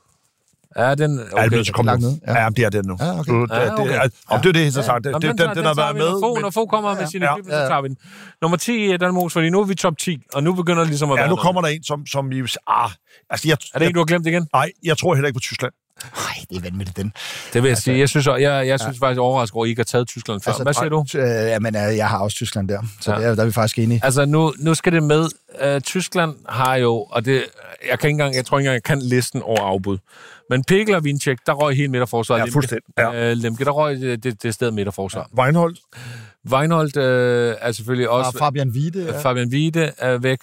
A: Ja, den...
B: Okay. Er det blevet til at komme
C: Langt
B: ned?
C: ned, ja.
B: Ja, ja det er den nu.
C: Ja, okay.
B: Du- det-
A: Ja, Ah, okay.
B: det er- Om det er det, så sagt. Det,
A: Nå,
B: det, den, den, har
A: tager
B: været
A: vi, når
B: med.
A: Fogh-
B: men-
A: Når få kommer med sine
B: Ja,
A: ja, så tager vi den. Nummer 10 er Danmark, fordi nu er vi top 10, og nu begynder det ligesom at være
B: Ja, nu
A: noget.
B: kommer der en, som, som I... Ah, altså, jeg,
A: Er det en, du har glemt igen?
B: Nej, jeg tror heller ikke på Tyskland.
C: Nej, det er vanvittigt, den.
A: Det vil jeg
B: Altså-
A: sige. Jeg synes, jeg, jeg, jeg synes faktisk overrasket over, at I ikke har taget Tyskland før. Altså, Hvad siger du?
C: T- øh, jamen, øh, jeg har også Tyskland der, så
A: Ja.
C: ja. der, der er vi faktisk enige.
A: Altså, nu, nu skal det med. Øh, Tyskland har jo, og det, jeg, kan ikke engang, jeg tror ikke engang, jeg kan listen over afbud. Men Pekler og Vincek, der røg helt midterforsvaret.
B: Ja,
A: Lemke.
B: fuldstændig, ja.
A: Øh, Lemke, der røg det, det, det sted midterforsvar.
B: Weinhold.
A: Ja. Weinhold øh, er selvfølgelig
C: Og
B: Ah,
A: også...
C: Fabian Wiede. Ja.
A: Fabian Vide er væk.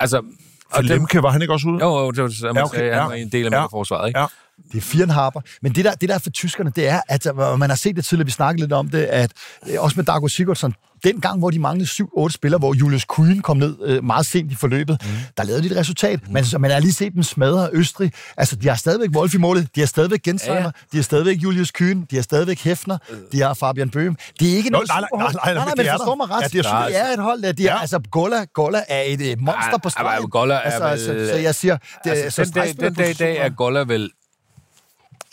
A: Altså,
B: Og
A: og dem,
B: Lemke, var han ikke også ude?
A: Jo, jo, det var det samme,
B: Ja,
A: ja,
B: okay,
A: okay, han
B: ja.
A: var en del af
B: Ja.
A: midterforsvaret, ikke?
B: Ja.
C: Det er Firnhaber. Men det der, det der er for tyskerne, det er, at øh, og man har set det tidligere, vi snakkede lidt om det, at øh, også med Darko Sigurdsson, den gang, hvor de manglede 7-8 spillere, hvor Julius Kuhn kom ned øh, meget sent i forløbet, mm. der lavede de et resultat. Mm. Man, man har lige set dem smadre Østrig. Altså, de har stadigvæk Wolf i målet, de har stadigvæk Gensheimer,
A: Ja,
C: ja,
A: ja.
C: ja. de har stadigvæk Julius Kuhn, de har stadigvæk Hefner, de har Fabian Bøhm. Det er ikke
B: Nå,
C: noget
B: nej, nej,
C: superhold.
B: nej, nej, men
C: men
B: de er
C: forstår
B: der.
C: mig ret.
B: Ja, de er super-
C: det er et hold, der de er,
B: Ja.
C: altså, Golla, Golla er et øh, monster
A: Ej,
C: på
A: ej,
C: stregen.
A: men Golla er
C: altså,
A: vel-
C: altså, så jeg siger, det,
A: Altså, den, dag, den dag i dag er Goller vel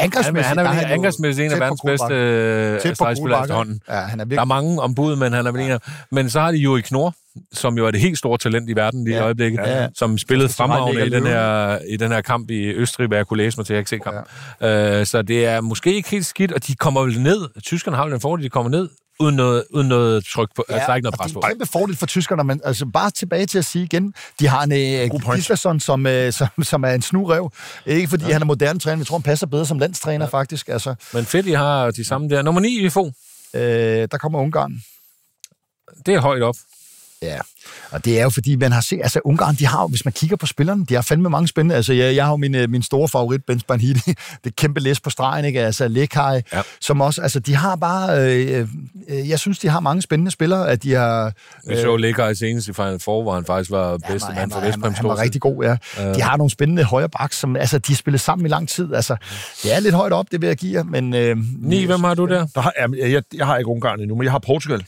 A: Angrebsmæssigt, han er vel
C: jo
A: angrebsmæssigt en af
C: tæt på
A: verdens
C: Kronbakken.
A: bedste øh,
C: Tæt på
A: stregspillere
C: Kronbakken.
A: efterhånden.
C: Ja, han er
A: Der er
C: virkelig...
A: mange ombud, men han er vel en af... Men så har de jo i Knor, som jo er det helt store talent i verden lige i
C: Ja.
A: øjeblikket,
C: Ja, ja.
A: som spillede
C: tror, han
A: fremragende i
C: ligger
A: den, her, i den her kamp i Østrig, hvad jeg kunne læse mig til, jeg har ikke set kampen. Øh, så det er måske ikke helt skidt, og de kommer vel ned. Tyskerne har jo den fordel, de kommer ned uden noget, uden noget tryk på. Ja, altså, der er ikke noget
C: og
A: pres
C: det er
A: på.
C: en kæmpe fordel for tyskerne, men altså bare tilbage til at sige igen, de har en
B: God
C: øh,
B: point.
C: Gislason, som, øh, som, som er en snurev. Ikke fordi ja. han er moderne træner, vi tror, han passer bedre som landstræner ja. faktisk. Altså,
A: Men fedt, I har de samme der. Nummer 9, vi får.
C: øh, der kommer Ungarn.
A: Det er højt op.
C: Ja, og det er jo fordi, man har set, altså Ungarn, de har jo, hvis man kigger på spillerne, de har fandme mange spændende, altså jeg, jeg har jo min, øh, min store favorit, Benz Banhidi, det kæmpe læs på stregen, ikke, altså Lekai,
A: Ja.
C: ja. som også, altså de har bare, øh, øh, jeg synes, de har mange spændende spillere, at de har...
A: Vi så ligger i seneste i Final Four, hvor han faktisk var bedste
C: Øh, han, var-
A: mand for
C: han, var-
A: Vestbrem
C: han var rigtig god, ja.
A: Øh.
C: De har nogle spændende højre bak, som, altså de har spillet sammen i lang tid, altså det er lidt højt op, det vil jeg give jer, men... Øh,
A: 9, hvem har du der?
B: Der har, jamen, jeg, jeg, jeg har ikke Ungarn endnu, men jeg har Portugal.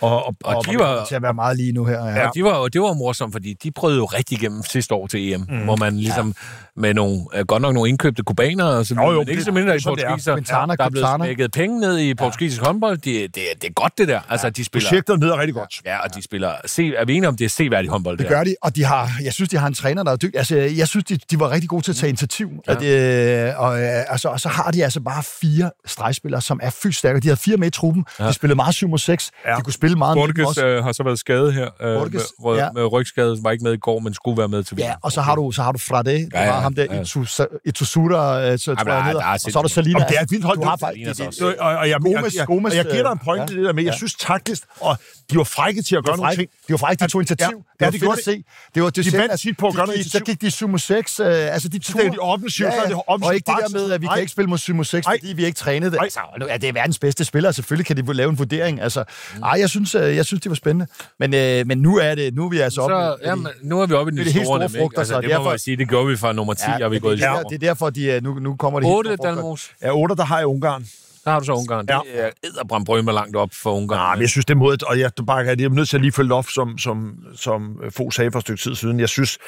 B: Og, og,
A: Og de var,
C: til at være meget lige nu her. Ja.
A: Ja. De var, jo- det var morsomt, fordi de prøvede jo rigtig igennem sidste år til EM, mm. hvor man ligesom ja. med nogle, øh, godt nok nogle indkøbte kubanere, og så,
B: Jo, jo,
A: men ikke
B: det-
A: så mindre i
B: sådan det er.
A: portugiser,
C: Quintana,
A: der er blevet
C: Quintana.
A: smækket penge ned i portugisisk håndbold. Det, det, det er godt, det der. Altså, de spiller...
B: projektet ned er rigtig godt.
A: Ja, og de spiller... Se, er vi enige om, det er seværdig håndbold, det,
C: Det gør de, og de har, jeg synes, de har en træner, der er dygtig. Altså, jeg synes, de, de var rigtig gode til at tage initiativ. Ja. Og, det, og, øh, altså, og så har de altså bare fire stregspillere, som er fysisk stærke. De havde fire med i truppen. Ja. De spillede meget 7 mod 6. Ja.
B: Ja.
C: De kunne spille meget med dem
A: Borges
C: også.
A: øh, har så været skadet her. Øh,
C: Borges,
A: med,
C: ja.
A: ja. med rygskade, var ikke med i går, men skulle være med til VM.
C: Ja, og så har du, så har du Frade,
A: Ja,
C: ja, ja,
A: ja,
C: du har ham der,
A: ja.
C: ja. Itusura, øh, så tror
A: der
C: jeg,
A: er-
C: han hedder.
A: der er
C: og så er der
A: sindssygt-
C: Salina.
B: Jamen, det er et vildt hold.
C: Du har
B: Det er
C: faktisk,
A: Salinas
C: det,
A: også.
B: Og, og, og, jeg,
C: Gomes-
B: jeg, jeg,
C: Gomes,
B: jeg, jeg giver dig en
C: øh,
B: point til det der med, jeg synes taktisk, og de var frække til at gøre
C: var
B: nogle
C: frække.
B: ting.
C: De var frække, de tog initiativ.
B: Ja,
C: det
B: ja,
C: var
B: de
C: fedt
B: gjorde
C: at se. Det var, det
B: De
C: var
B: vandt tit på at gøre noget
C: Så gik de 7 mod 6. Øh, altså, de tog.
B: de offensivt, så er det offensivt
C: Og ikke det
B: bakset.
C: der med, at vi
B: Nej.
C: kan ikke spille mod 7 mod 6,
B: Nej.
C: fordi vi ikke trænede det.
B: Nej.
C: Altså, nu er det verdens bedste spillere, selvfølgelig kan de lave en vurdering. Altså,
B: Mm.
C: ej, jeg synes, øh, jeg synes, det var spændende. Men, øh, men nu er det, nu er vi altså oppe.
A: Så,
C: med-
A: jamen, nu er vi oppe i
C: det
A: den
C: er de
A: store,
C: helt store
A: nemlig, ikke?
C: frugter,
A: altså,
C: så
A: det må
C: derfor-
A: man sige, det gjorde vi fra nummer 10, ja, og vi er
C: men det,
A: gået i
C: det, er,
A: jord.
C: det er derfor, de, øh, nu, nu kommer det
A: 8,
C: helt store frugter.
A: Dalmos.
B: Ja, otter, der har jeg Ungarn.
A: Der har du så Ungarn. Ja.
B: Ja.
A: Det er edderbrandbrømme langt op for Ungarn.
B: Nej, men jeg synes, det er modigt, og jeg, bare, jeg er nødt til at lige følge op, som, som, som få sagde for et stykke tid siden. Jeg synes,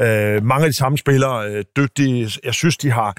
B: øh, mange af de samme spillere øh, dygtige. Jeg synes, de har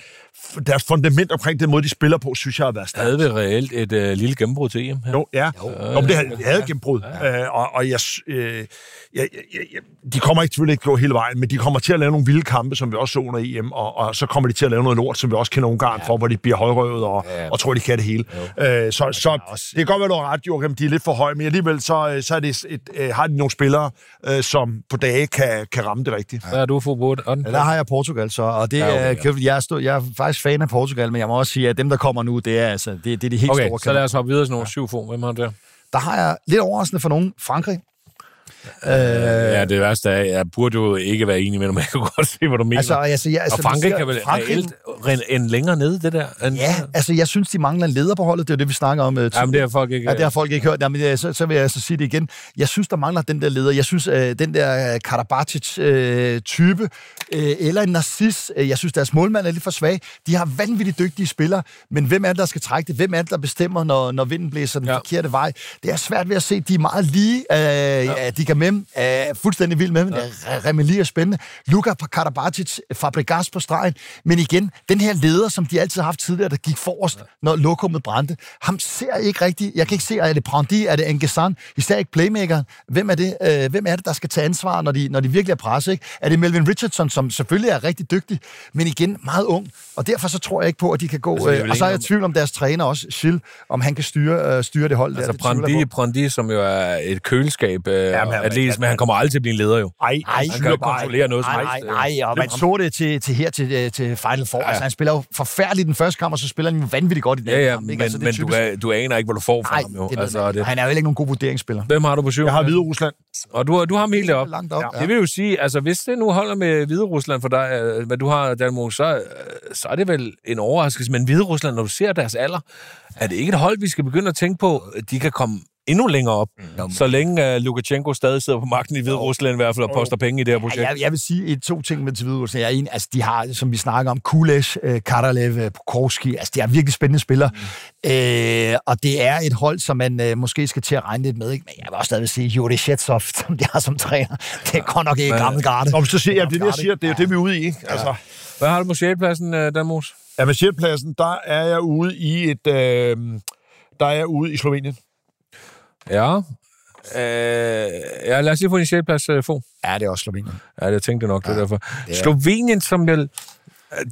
B: deres fundament omkring den måde, de spiller på, synes jeg har været stærkt.
A: havde vi reelt et øh, lille gennembrud til EM her.
B: Jo, ja. Jo, jo men det havde, havde gennembrud. Øh, og og jeg, s- øh, jeg, jeg, jeg, jeg- de kommer ikke selvfølgelig ikke gå hele vejen, men de kommer til at lave nogle vilde kampe, som vi også så under EM, og, og så kommer de til at lave noget lort, som vi også kender Ungarn for, hvor de bliver højrøvet og,
A: ja.
B: og tror, de kan det hele. Øh, så så det kan godt være, du har ret, Joachim, de er lidt for høje, men alligevel så, øh, så er det et, øh, har de nogle spillere, øh, som på dage kan, kan ramme det rigtigt.
A: Der er du for på den.
C: Ja, der har jeg Portugal så, og det
A: Ja, okay,
C: er,
A: ja.
C: jeg, er stå, jeg er faktisk fan af Portugal, men jeg må også sige, at dem, der kommer nu, det er, altså, det, det er de helt
A: Okay,
C: store
A: så lad os hoppe videre til nogle ja. syv få. Hvem har du der?
C: Der har jeg lidt overraskende for nogen Frankrig.
A: Øh, ja, det værste er, jeg burde jo ikke være enig med dig, men jeg kunne godt se, hvad du mener.
C: Altså,
A: Altså,
C: altså, jeg, altså,
A: og Frankrig
C: hvis
A: kan
C: jeg-
A: vel reelt rende en længere nede, det der? End,
C: Ja, altså jeg synes, de mangler en leder på holdet. Det er jo det, vi snakker om. Øh,
A: Jamen, det har folk ikke...
C: Ja, det har folk ikke hørt. Jamen, øh, så, så vil jeg så sige det igen. Jeg synes, der mangler den der leder. Jeg synes, øh, den der øh, Karabatic-type, øh, eller en narcis, øh, jeg synes, deres målmand er lidt for svag. De har vanvittigt dygtige spillere, men hvem er det, der skal trække det? Hvem er det, der bestemmer, når, når vinden blæser den
A: Ja.
C: ja. forkerte vej? Det er svært ved at se. De er meget lige. Øh, ja. De kan med dem. Øh, fuldstændig vild med dem. Ja. Remeli er spændende. Luka på Karabatic, øh, Fabregas på stregen. Men igen, den her leder, som de altid har haft tidligere, der gik forrest, ja. når lokummet brændte, ham ser jeg ikke rigtigt. Jeg kan ikke se, er det Brandi, er det Engesan, især ikke playmakeren. Hvem er det, øh, hvem er det der skal tage ansvar, når de, når de virkelig er presset? Ikke? Er det Melvin Richardson, som selvfølgelig er rigtig dygtig, men igen meget ung, og derfor så tror jeg ikke på, at de kan gå...
A: Altså, det er
C: Altså,
A: vel
C: øh, og så er
A: ikke
C: jeg i tvivl om deres træner også, Schill, om han kan styre, øh, styre det hold der.
A: Altså,
C: Det tvivler jeg på.
A: Brandi, Brandi, som jo er et køleskab øh,
B: Jamen, han-
A: atletisk, men han kommer aldrig til at blive en leder, jo.
B: Ej,
C: Ej,
A: Han kan jo ikke kontrollere noget som
C: Nej,
A: helst. øh.
C: nej, nej, og man
A: Det-
C: så det til, til her til, øh, til Final Four. Ja. Altså, han spiller jo forfærdeligt den første kamp, og så spiller han jo vanvittigt godt i den
A: Ja,
C: anden
A: ja,
C: kamp.
A: men,
C: Ikke? altså, det
A: men du, er, du aner ikke, hvad du får fra
C: Nej,
A: ham, jo.
C: det altså,
A: altså,
C: det.
A: det.
C: han er jo heller ikke nogen god vurderingsspiller.
A: Hvem har du på syv?
B: Jeg har Hvide Rusland.
A: Og du, har- du har ham helt deroppe.
C: Langt op.
A: Ja. Det vil jo sige, altså hvis det nu holder med Hvide Rusland for dig, øh, hvad du har, Dalmo, så, øh, så er det vel en overraskelse. Men Hvide Rusland, når du ser deres alder, er det ikke et hold, vi skal begynde at tænke på, at de kan komme endnu længere op, mm. så længe uh, Lukashenko stadig sidder på magten i Hvide Rusland i hvert fald og poster penge i det her projekt.
C: Ja, jeg, jeg vil sige et, to ting med til Hvide Rusland. Jeg er en, altså, de har, som vi snakker om, Kulesh, øh, Karalev, øh, Pokorski, altså de er virkelig spændende spillere. Mm. Øh, og det er et hold, som man øh, måske skal til at regne lidt med. Ikke? Men jeg vil også stadig sige, Juri Shetsov, som de har som træner, det er godt nok ikke gammel garde.
B: Nå, men så siger jeg, det, er det, jeg siger, det er jo det, vi er ude i. ikke? Altså,
A: Hvad har du på sjælpladsen, uh, Dalmos?
B: Ja, med sjældpladsen, der er jeg ude i et... Øh, der er jeg ude i Slovenien.
A: Ja. Øh, ja, lad os lige få din sjælplads, øh, få.
C: Ja, det er også Slovenien.
A: Ja, det jeg tænkte nok, ja, det er derfor.
C: det er-
A: Slovenien, som jeg...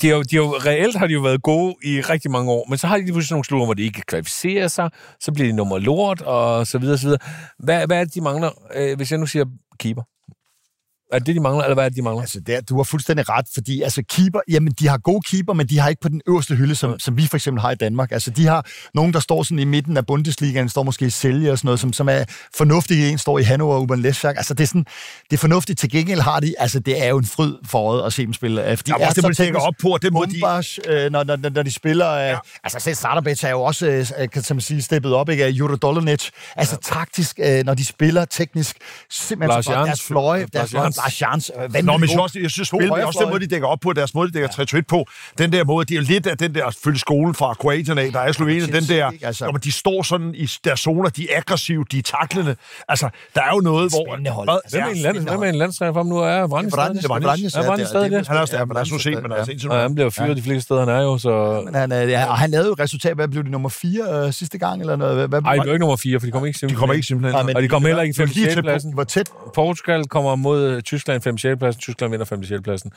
A: De har, jo- de har, jo- reelt har de jo været gode i rigtig mange år, men så har de lige pludselig nogle slutter, hvor de ikke kan kvalificere sig, så bliver de nummer lort, og så videre, så videre. Hvad, hvad er det, de mangler, øh, hvis jeg nu siger keeper? Er det det, de mangler, eller hvad er det, de mangler?
C: Altså, der, du har fuldstændig ret, fordi altså, keeper, jamen, de har gode keeper, men de har ikke på den øverste hylde, som, som vi for eksempel har i Danmark. Altså, de har nogen, der står sådan i midten af Bundesligaen, står måske i Sælge og sådan noget, som, som er fornuftige. En står i Hannover og Uben Lesjak. Altså, det er sådan, det er fornuftigt. Til gengæld har de, altså, det er jo en fryd for øjet at se dem spille. øh, Fordi
B: Jeg må også det, man tænker op på, og det må de...
C: Bombash, øh, når, når, når, når de spiller... Øh, ja. Altså, selv Sardabic er jo også, øh, kan som man sige, steppet op, ikke? Af Juro Dolonec. Altså, ja. taktisk, øh, når de spiller teknisk, simpelthen
A: Lars
C: så godt. Deres
A: Jørgensen.
C: fløje,
A: Lars
C: deres fløje,
A: Jørgensen.
C: Lars Jans, øh, vanvittig
B: Nå, men jeg synes,
C: god.
B: også, jeg synes
C: God
B: spil, men også den
C: højrefløj.
B: måde, de dækker op på, deres måde, de dækker 3-1 på, den der måde, det er jo lidt af den der følgesskole fra Kroatien af, der er i Slovenien, den der,
C: ikke? Altså.
B: når man, de står sådan i deres zoner, de er aggressive, de er taklende. Altså, der er jo noget, hvor...
C: spændende hold.
B: Hvad-
C: Altså,
A: Hvem er en lands- hvem er en landstræner for ham nu? Er Brandes?
C: Brandes,
A: stadig?
C: Brandes,
A: Er
C: ja,
A: Brandes
C: det-
A: stadig
C: det-
A: det?
B: Han er også,
C: Ja,
B: ja, man er så set, men
C: ja.
B: altså, indtil nu...
A: Og han bliver jo fyret de fleste steder, han er jo, så...
C: Men han, øh, ja, og han lavede jo et resultat, hvad blev det, nummer 4 øh, sidste gang, eller noget? Hvad, hvad
A: Ej,
C: blev-
A: det er jo ikke nummer 4, for de kommer ikke
B: De
A: simpelthen.
B: kommer ikke simpelthen...
C: Nej, men-
A: Og de kommer heller ikke i
B: Det er
A: 5.
B: lige tæt på.
A: 6. pladsen.
C: de var tæt.
A: Portugal kommer mod øh, Tyskland 5. 6. pladsen. Tyskland vinder 5. 6. pladsen.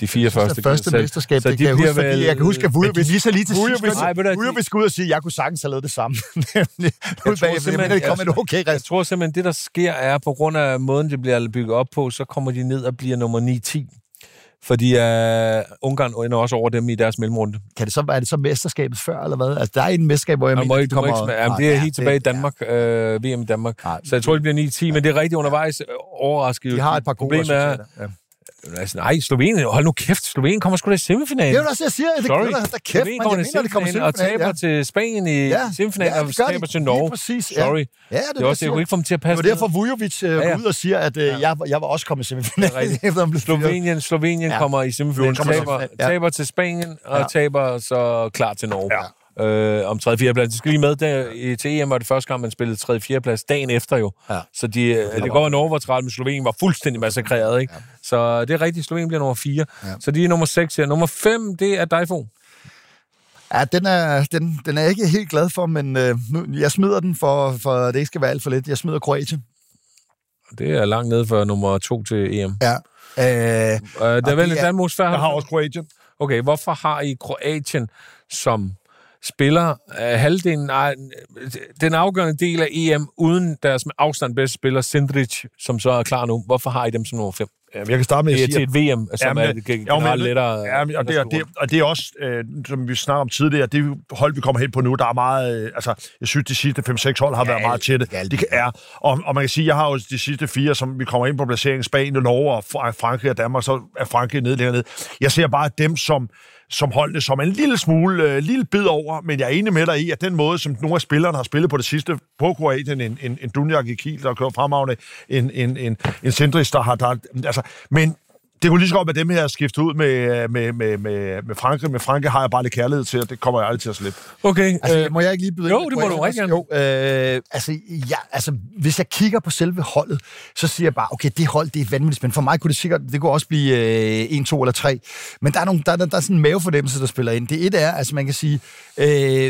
A: De fire første.
C: Første, altså, første
A: så-
C: mesterskab,
A: så
C: det kan jeg
A: bliver
C: huske, vel... fordi jeg kan huske, at Vujovic... lige så lige til
A: sidst- Nej, ved du hvad, de-
C: Vujovic skulle ud og sige, at jeg kunne sagtens have lavet det samme. Nemlig, ud bagefter,
A: simpelthen,
C: men det kom
A: altså-
C: et okay
A: Jeg
C: resultat.
A: tror simpelthen, det der sker er, på grund af måden, det bliver bygget op på, så kommer de ned og bliver nummer 9-10. Fordi øh, Ungarn ender også over dem i deres mellemrunde.
C: Kan det så, er det så mesterskabet før, eller hvad? Altså, der er en mesterskab, hvor jeg
A: Man må
C: mener,
A: ikke, kommer... ikke, jamen, det er
C: Nej,
A: helt tilbage i Danmark, øh, VM i Danmark.
C: Nej.
A: Så jeg tror, det bliver 9-10, men det er rigtig undervejs øh, overraskende.
C: De har et par gode
A: Problemet er-
C: resultater. Ja.
A: Altså, nej, Slovenien, hold nu kæft, Slovenien kommer sgu da i semifinalen.
C: Det er jo også, jeg siger. Det
A: Sorry.
C: kæder der kæft, men
A: Slovenien
C: jeg
A: kommer
C: mener, det kommer
A: til og
C: simpelthen.
A: taber
C: Ja.
A: til Spanien i
C: Ja,
A: semifinalen,
C: ja,
A: og
C: det gør de.
A: taber til
C: Lige
A: Norge.
C: præcis, ja.
A: Sorry.
C: Ja, det er
A: det er
C: det,
A: også, jeg
C: jeg
A: kunne ikke få dem til at passe
C: Det var derfor, Vujovic øh,
A: Ja, ja.
C: ja, ud og siger, at øh, jeg, jeg var også kommet i semifinalen,
A: rigtigt.
C: efter han blev
A: ned.
C: fyret.
A: Slovenien, Slovenien
C: Ja.
A: kommer i semifinalen,
B: Kommer i
A: taber,
C: semifinalen, ja.
A: taber til Spanien, og
C: Ja.
A: taber så klar til Norge. Øh, om 3. 4. plads. Det skal lige med, der, i- til EM var det første gang, man spillede 3. 4. plads dagen efter jo.
C: Ja.
A: Så de, øh, det går, at Norge var træt, men Slovenien var fuldstændig massakreret. Ikke? Så det er rigtigt, Slovenien bliver nummer 4. Så de er nummer 6 her. Nummer 5, det er Dejfo.
C: Ja, den er, den, den er jeg ikke helt glad for, men øh, nu, jeg smider den, for, for det ikke skal være alt for lidt. Jeg smider Kroatien.
A: Det er langt ned for nummer 2 til EM.
C: Ja. Øh,
A: Øh, der er vel
C: det
A: en
C: er-
A: Danmark svært.
B: Ah, Jeg har også Kroatien.
A: Okay, hvorfor har I Kroatien som spiller øh, halvdelen, nej, øh, den afgørende del af EM, uden deres med afstand bedste spiller, Sindrich, som så er klar nu. Hvorfor har I dem som nummer 5?
B: Jamen, jeg kan starte med at
A: Det er
B: sige,
A: til
B: at
A: et VM, som
B: Jamen,
A: er det
B: jo, men-
A: generelt lettere.
B: Ja, og det, og, det, og det er også, øh, som vi snakker om tidligere, det hold, vi kommer hen på nu, der er meget... Øh, altså, jeg synes, de sidste 5-6 hold har ja, været meget tætte.
C: ja,
B: Ja,
C: alt-
B: det er. Og, og man kan sige, jeg har jo de sidste fire, som vi kommer ind på placeringen, Spanien, Norge og Fra- Frankrig og Danmark, så er Frankrig nede længere ned. Jeg ser bare dem som som holdene, som er en lille smule, øh, lille bid over, men jeg er enig med dig i, at den måde, som nogle af spillerne har spillet på det sidste på Kroatien, en, en, en Dunjak i Kiel, der kører fremragende, en, en, en, en Sindris, der har... Der, altså, men det kunne lige så godt være dem her skiftet ud med, øh, med, med, med, med Frankrig. Med Frankrig har jeg bare lidt kærlighed til, og det kommer jeg aldrig til at slippe.
A: Okay,
C: Altså,
A: øh,
C: øh, må jeg ikke lige byde
A: jo,
C: ind?
A: det må du
C: jeg-
A: rigtig
C: Jo, øh, altså, ja, altså, hvis jeg kigger på selve holdet, så siger jeg bare, okay, det hold, det er vanvittigt spændende. For mig kunne det sikkert, det kunne også blive øh, 1, 2 eller 3. Men der er, nogle, der, der, der er sådan en mavefornemmelse, der spiller ind. Det et er, altså man kan sige, øh,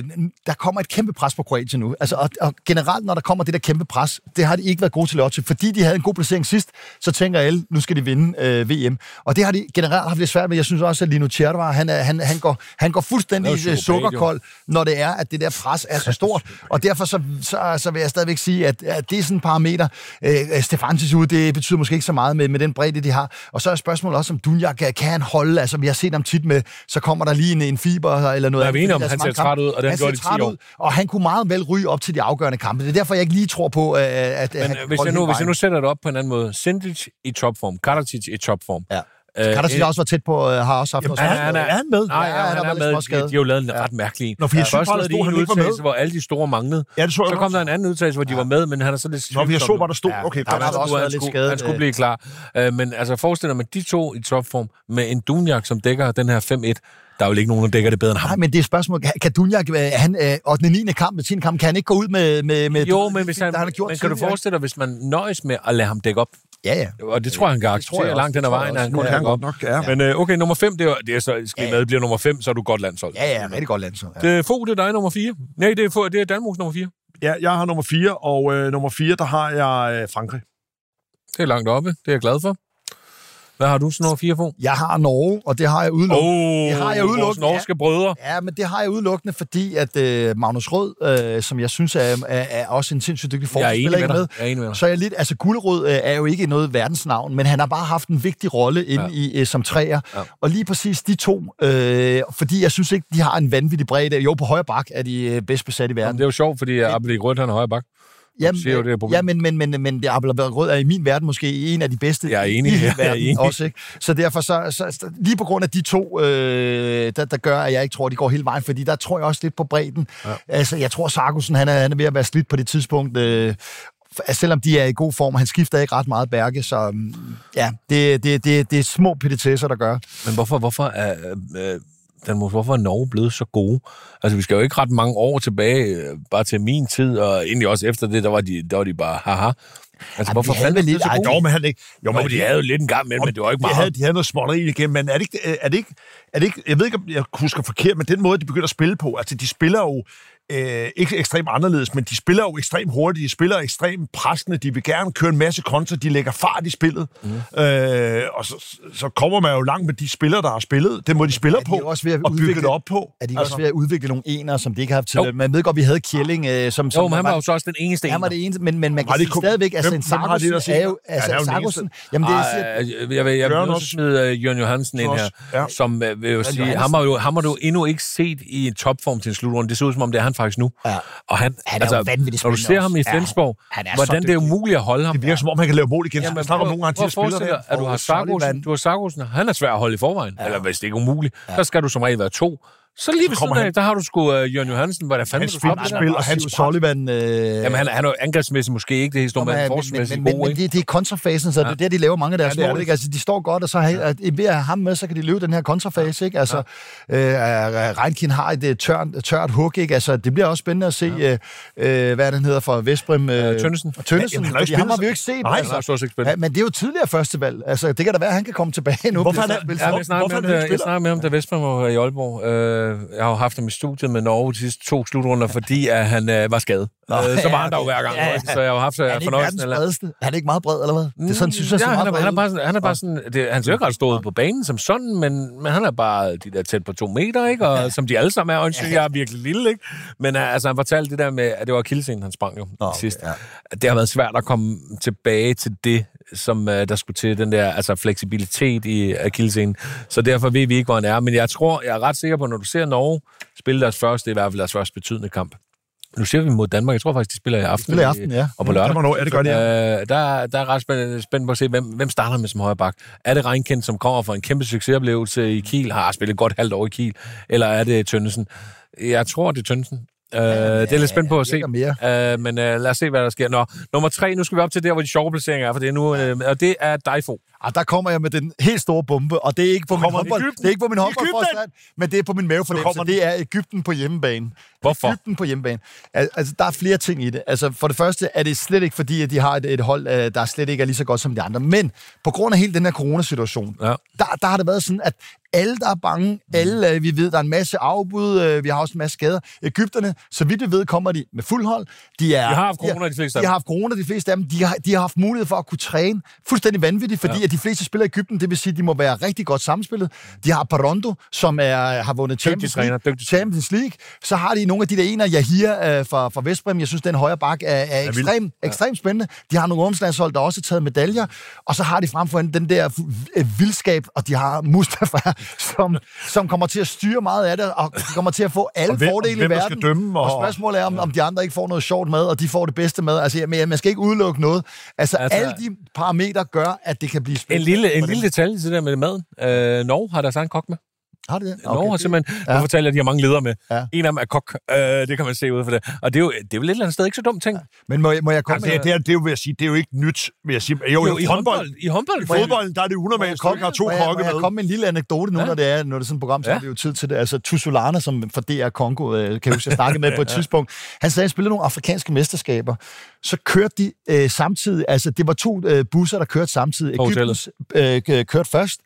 C: der kommer et kæmpe pres på Kroatien nu. Altså, og, og, generelt, når der kommer det der kæmpe pres, det har de ikke været gode til at leve op til. Fordi de havde en god placering sidst, så tænker alle, nu skal de vinde øh, VM. Og det har de generelt haft lidt svært med. Jeg synes også, at Lino Tjertvar, han, er- han, han, går, han går
A: Han er
C: fuldstændig
A: jo
C: øh,
A: psykopat, jo.
C: sukkerkold når det er, at det der pres er så stort. Og derfor så, så, så vil jeg stadigvæk sige, at, at det er sådan en parameter. Øh, Stefansis ude, det betyder måske ikke så meget med, med den bredde, de har. Og så er spørgsmålet også, om Dunjak øh, kan han holde. Altså, vi har set ham tit med, så kommer der lige en, en fiber eller noget.
A: er vi enige
C: andet,
A: om,
C: fordi
A: han
C: der så mange
A: ser
C: kampe.
A: træt ud, og det har han
C: ser
A: gjort i 10
C: træt
A: år.
C: ud, Og han kunne meget vel ryge op til de afgørende kampe. Det er derfor, jeg ikke lige tror på, øh, at... at han
A: men
C: kan
A: hvis
C: holde
A: jeg, nu,
C: hele
A: hvis jeg nu
C: vejen.
A: sætter det op på en anden måde, Sindrich i topform, Karadzic i topform.
C: Ja.
A: Øh,
C: Kan der sige også være tæt på, øh, har også haft noget
A: han
C: svært.
A: er-
B: er han med?
A: Nej,
C: Ja,
A: ja,
C: han
A: han,
C: har
A: er
C: været
A: med.
C: lidt småskadet.
A: De har jo lavet en ret mærkelig en.
B: Nå, for jeg synes
A: Først
B: bare,
A: havde
B: der
A: de
B: stod,
A: en
B: han ikke var med.
A: udtalelse, hvor alle de store manglede.
B: Ja, det så jeg
A: Så
B: godt.
A: kom der en anden udtalelse, hvor de var med, men han er så lidt
B: Nå, men jeg så
A: tvivlsom.
B: bare, der stod...
C: Ja,
B: Okay,
C: der var
B: godt.
C: der også
A: han,
C: været lidt
A: skulle,
C: skadet,
A: han skulle
C: øh.
A: blive klar. Øh, men altså, forestil dig med de to i topform, med en Dunjak, som dækker den her 5-1. Der er jo ikke nogen, der dækker det bedre end
C: Nej,
A: ham.
C: men det er et spørgsmål. Kan- Kan Dunjak, øh, han, øh, 8. 9. kamp, 10. kamp, kan han ikke gå ud med... med, med
A: Jo, men, hvis
C: der
A: han,
C: har gjort
A: men kan du
C: tidligere?
A: forestille dig, hvis man nøjes med at lade ham dække op?
C: Ja, ja.
A: Og det tror jeg, han kan
C: tror jeg
A: acceptere
C: også.
A: langt hen ad
C: Det tror jeg
A: vejen, at han
B: Det
A: kun
B: kan
A: kan
B: han
A: gå op.
B: godt nok, ja.
A: Men øh, okay, nummer 5, det er, det er så, skal vi
C: Ja.
A: med, bliver nummer 5, så er du godt landshold.
C: Ja, ja, rigtig godt landshold. Ja.
A: Det er Fogh, det er dig nummer 4. Nej, det er, Fogh- det er Danmarks nummer 4.
B: Ja, jeg har nummer 4, og øh, nummer 4, der har jeg øh, Frankrig.
A: Det er langt oppe, det er jeg glad for. Hvad har du så nummer 4, Fogh?
C: Jeg har Norge, og det har jeg udelukket.
A: Oh,
C: Det har jeg
A: vores
C: udelukket,
A: norske brødre.
C: Ja, men det har jeg udelukkende, fordi at øh, Magnus Rød, øh, som jeg synes er, er, er også en sindssygt dygtig
A: Jeg er enig
C: forsvarsspiller,
A: med
C: ikke
A: dig.
C: med.
A: Jeg er enig med dig.
C: Så er jeg lidt, altså Gullerød øh, er jo ikke noget verdensnavn, men han har bare haft en vigtig rolle inde
A: Ja.
C: ja. i, øh, som træer.
A: Ja.
C: Ja. Og lige præcis de to, øh, fordi jeg synes ikke, de har en vanvittig bredde. Jo, på højre bak er de øh, bedst besat i
A: Jamen,
C: verden.
A: det er jo sjovt, fordi Abelik Rødt, han er højre bak.
C: Jamen,
A: siger jo, det er et problem.
C: Ja, men, men, men, men det Abelabad Rød er i min verden måske en af de bedste
A: Jeg er enig,
C: i
A: jeg
C: hele
A: er
C: verden
A: enig.
C: også. Ikke? Så derfor, så, så, så, lige på grund af de to, øh, der, der gør, at jeg ikke tror, de går hele vejen, fordi der tror jeg også lidt på bredden. Ja. Altså, jeg tror, Sarkusen, han er, han er ved at være slidt på det tidspunkt. Øh, f- selvom de er i god form, han skifter ikke ret meget bærke, så mm, ja, det, det, det, det er små petitesser, der gør.
A: Men hvorfor, hvorfor er... Øh, Danmark, hvorfor er Norge blevet så gode? Altså, vi skal jo ikke ret mange år tilbage, øh, bare til min tid, og egentlig også efter det, der var de, der var de bare, haha. Altså, hvorfor
C: de havde
A: fanden er
C: vel
A: de
C: lidt-
A: så
C: ej,
A: gode?
B: Jo, men han ikke. Jo,
A: Jo, men de havde jo lidt en gang imellem, men det var ikke
B: De
A: meget.
B: havde, de havde noget småtteri igen, men er det, ikke, øh, er, det ikke, er det ikke... Jeg ved ikke, om jeg husker forkert, men den måde, de begynder at spille på, altså de spiller jo øh, ikke ekstremt anderledes, men de spiller jo ekstremt hurtigt, de spiller ekstremt pressende, de vil gerne køre en masse kontra, de lægger fart i spillet, mm. øh, og så, så kommer man jo langt med de spillere, der har spillet, det må de spiller
C: de
B: på,
C: ikke også ved at
B: og bygge
C: udvikle-
B: det op på.
C: Er de altså. også ved at udvikle nogle enere, som de ikke har haft tidligere? Man ved godt, vi havde Kjelling, øh, som, som
A: Jo, men han var jo så også den eneste
C: Han var det eneste, men, men man kan
B: Var det
C: sige
B: kun-
C: stadigvæk, altså
B: hvem-
C: en
B: hvem har det
C: Sargussen
B: der
C: er jo...
B: set?
C: Altså,
B: Ja,
C: ja,
B: han er jo den
C: Sargusen, jamen det, jeg
A: Ej,
C: siger,
A: jeg vil, jeg vil
B: Jørgen
A: nødt til at
B: også.
A: smide øh, Jørgen Johansen ind her,
B: Også, ja.
A: som øh, vil jo sige,
C: Johansen.
A: ham har, jo, ham har du endnu ikke set i topform til en slutrunde. Det ser ud som om, det er han faktisk nu.
C: Ja.
A: Og han, altså,
C: Han er jo vanvittigt
A: når du
C: spændende
A: ser ham i
C: også. Ja,
A: Flensborg,
C: han er så
A: hvordan det er
C: dygtig.
A: umuligt at holde ham.
B: Det virker som om, han kan lave mål igen. Jamen, snakker om nogen, han
A: prøv
B: tit
A: at
B: spiller
A: forestille
B: der.
A: dig, at du har Sargosen,
C: Sullivan.
A: du har Sargosen, han er svær at holde i forvejen, ja. eller hvis det ikke er umuligt, ja. så skal du som regel være to. Så lige ved
B: kommer
A: siden af,
B: han-
A: der har du sgu uh, Jørgen Johansen, hvor der fandme
B: Han
A: du
B: spiller-
A: stoppe det der?
B: spiller-
C: og Hans Sullivan... Øh,
A: Jamen, han, er- han er jo angrebsmæssigt måske ikke det helt store, men han er forsvarsmæssigt
C: men,
A: god,
C: men,
A: ikke?
C: men det, det er kontrafasen, så det er der, de laver mange af deres
B: det er
C: ja, mål.
B: det.
C: Ikke? Altså, de står godt, og så har, at, ved at have ham med, så kan de løbe den her kontrafase. Ikke? Altså, ja. øh, Reinkin har et øh, tørt, tørt hook. Ikke? Altså, det bliver også spændende at se, ja. øh, hvad den hedder for Vestbrem... Øh,
A: Tønnesen.
C: Tønnesen,
B: Jamen, han har jo
C: fordi ham
B: spillet
C: har vi
B: så-
C: jo ikke set. Altså.
B: Nej,
A: Han har jo stort set ikke spillet.
C: ja, men det er jo tidligere førstevalg. Altså, det kan da være, at han kan komme tilbage nu.
B: Hvorfor er
C: Bliver spillet-
B: det-
A: Ja, men
B: Hvor-
A: jeg snakker med,
B: hvorfor
A: ham,
B: er det,
A: da-
B: han
A: jeg
B: spiller?
A: snakker med ham, da Vestman var i Aalborg. Øh, jeg har jo haft ham i studiet med Norge de sidste to slutrunder, fordi at han øh, var skadet. Nå, øh, så var
C: ja,
A: han der jo
C: okay.
A: hver gang,
C: Ja, ja.
A: så jeg har jo haft øh,
C: Er han ikke
A: fornøjelsen. Mm,
C: verdens bredeste? Er han ikke meget bred, eller hvad? Det er sådan, synes jeg,
A: ja,
C: så
A: han,
C: meget
A: er, han, er
C: bred ud.
A: bare sådan, han er bare sådan, det, han ser jo ikke ret stor ud på banen som sådan, men, men han er bare de der tæt på to meter, ikke? Og som de alle sammen er, undskyld, jeg er virkelig lille, ikke? Men øh, altså, han fortalte det der med, at det var kildescenen, han sprang jo Nå,
C: okay,
A: sidst.
C: ja.
A: At Det har været svært at komme tilbage til det, som øh, der skulle til, den der altså, fleksibilitet i øh, kildescenen. Så derfor ved vi ikke, hvor han er. Men jeg tror, jeg er ret sikker på, når du ser Norge spille deres første, i hvert fald deres første betydende kamp. Nu ser vi mod Danmark. Jeg tror faktisk, de spiller i aften. øh,
C: spiller i aften, ja.
A: Og på lørdag.
B: Hvornår er det godt, ja?
A: Øh, der, der er ret spændende, spændende på at se, hvem, hvem starter med som højre bak. Er det Reinkendt, som kommer fra en kæmpe succesoplevelse i Kiel, har spillet godt halvt år i Kiel, eller er det Tønnesen? Jeg tror, det er Tønnesen. Øh, det er lidt spændt på at se.
C: virker mere.
A: Øh, men øh, lad os se, hvad der sker. Nå, nummer tre, nu skal vi op til der, hvor de sjove placeringer er, for det er nu, øh, og det er Dejfo.
C: Ah, der kommer jeg med den helt store bombe, og det er ikke på min
B: Kommer
C: håndbold,
B: Egypten?
C: det er ikke på min håndbold
B: Egypten!
C: men det er på min mavefornemmelse.
B: kommer den.
C: Det er Ægypten på hjemmebane.
A: Hvorfor?
C: Ægypten på hjemmebane. Al- Altså, der er flere ting i det. Altså, for det første er det slet ikke fordi, at de har et, et hold, øh, der slet ikke er lige så godt som de andre. Men på grund af hele den her coronasituation,
A: Ja.
C: der, der har det været sådan, at alle, der er bange, alle, øh, vi ved, der er en masse afbud, øh, vi har også en masse skader. Ægypterne, så vidt vi ved, kommer de med fuld hold. De, er,
A: De har haft corona, de fleste af
C: de
A: dem.
C: har haft corona, de fleste af dem. De har, de har haft mulighed for at kunne træne fuldstændig vanvittigt, fordi ja. at de fleste spiller i Ægypten, det vil sige, at de må være rigtig godt samspillet. De har Parondo, som er, har vundet Champions,
A: træner,
C: League,
A: dygtig
C: Champions League. Så har de nogle af de der ener, Yahia øh, fra, fra Vestbrem. Jeg synes, den højre bak er, er
B: vild.
C: ekstrem, ekstremt spændende. De har nogle ungdomslandshold, der også har taget medaljer. Og så har de frem for hende den der fu- øh, vildskab, og de har Mustafa, som, som kommer til at styre meget af det, og de kommer til at få alle
B: Og hvem-
C: fordele
B: hvem
C: i
B: der
C: verden.
B: skal dømme,
C: og,
B: og-
C: spørgsmålet spørgsmålet er, om, om de andre ikke får noget sjovt med, og de får det bedste med. Altså, men man skal ikke udelukke noget.
A: Altså-
C: Altså, altså alle de parametre gør, at det kan blive
A: En
C: spændende.
A: lille, en lille detalje til det der med maden. Øh, Norge har deres egen kok med.
C: Har de det?
A: Okay. Norge har simpelthen ja. fortalt, at de har mange ledere med. Ja.
C: Ja.
A: En af dem er kok. Øh, det kan man se ud for det. Og det er jo, det er jo et eller andet sted ikke så dumt ting. Ja.
C: Men må, jeg- må jeg komme
B: Altså, det, er- det, er, det, er jo, vil jeg sige, det er jo ikke nyt, vil jeg sige. Jo, jo, jo i håndbold.
A: I håndbold.
B: I fodbolden, der er det unormalt, at har to
C: må jeg,
B: kokke
C: må jeg
B: med.
C: komme med en lille anekdote nu,
A: Ja.
C: ja. når, det er, når det er sådan et program, så
A: Ja.
C: ja. har vi jo tid til det. Altså, Tussolana, som fra DR Kongo, øh, kan jeg huske, jeg snakkede med på et tidspunkt, han sagde, at han spillede nogle afrikanske mesterskaber. Så kørte de øh, samtidig, altså det var to øh, busser, der kørte samtidig.
A: På
C: Ægyptens øh, k- kørte først,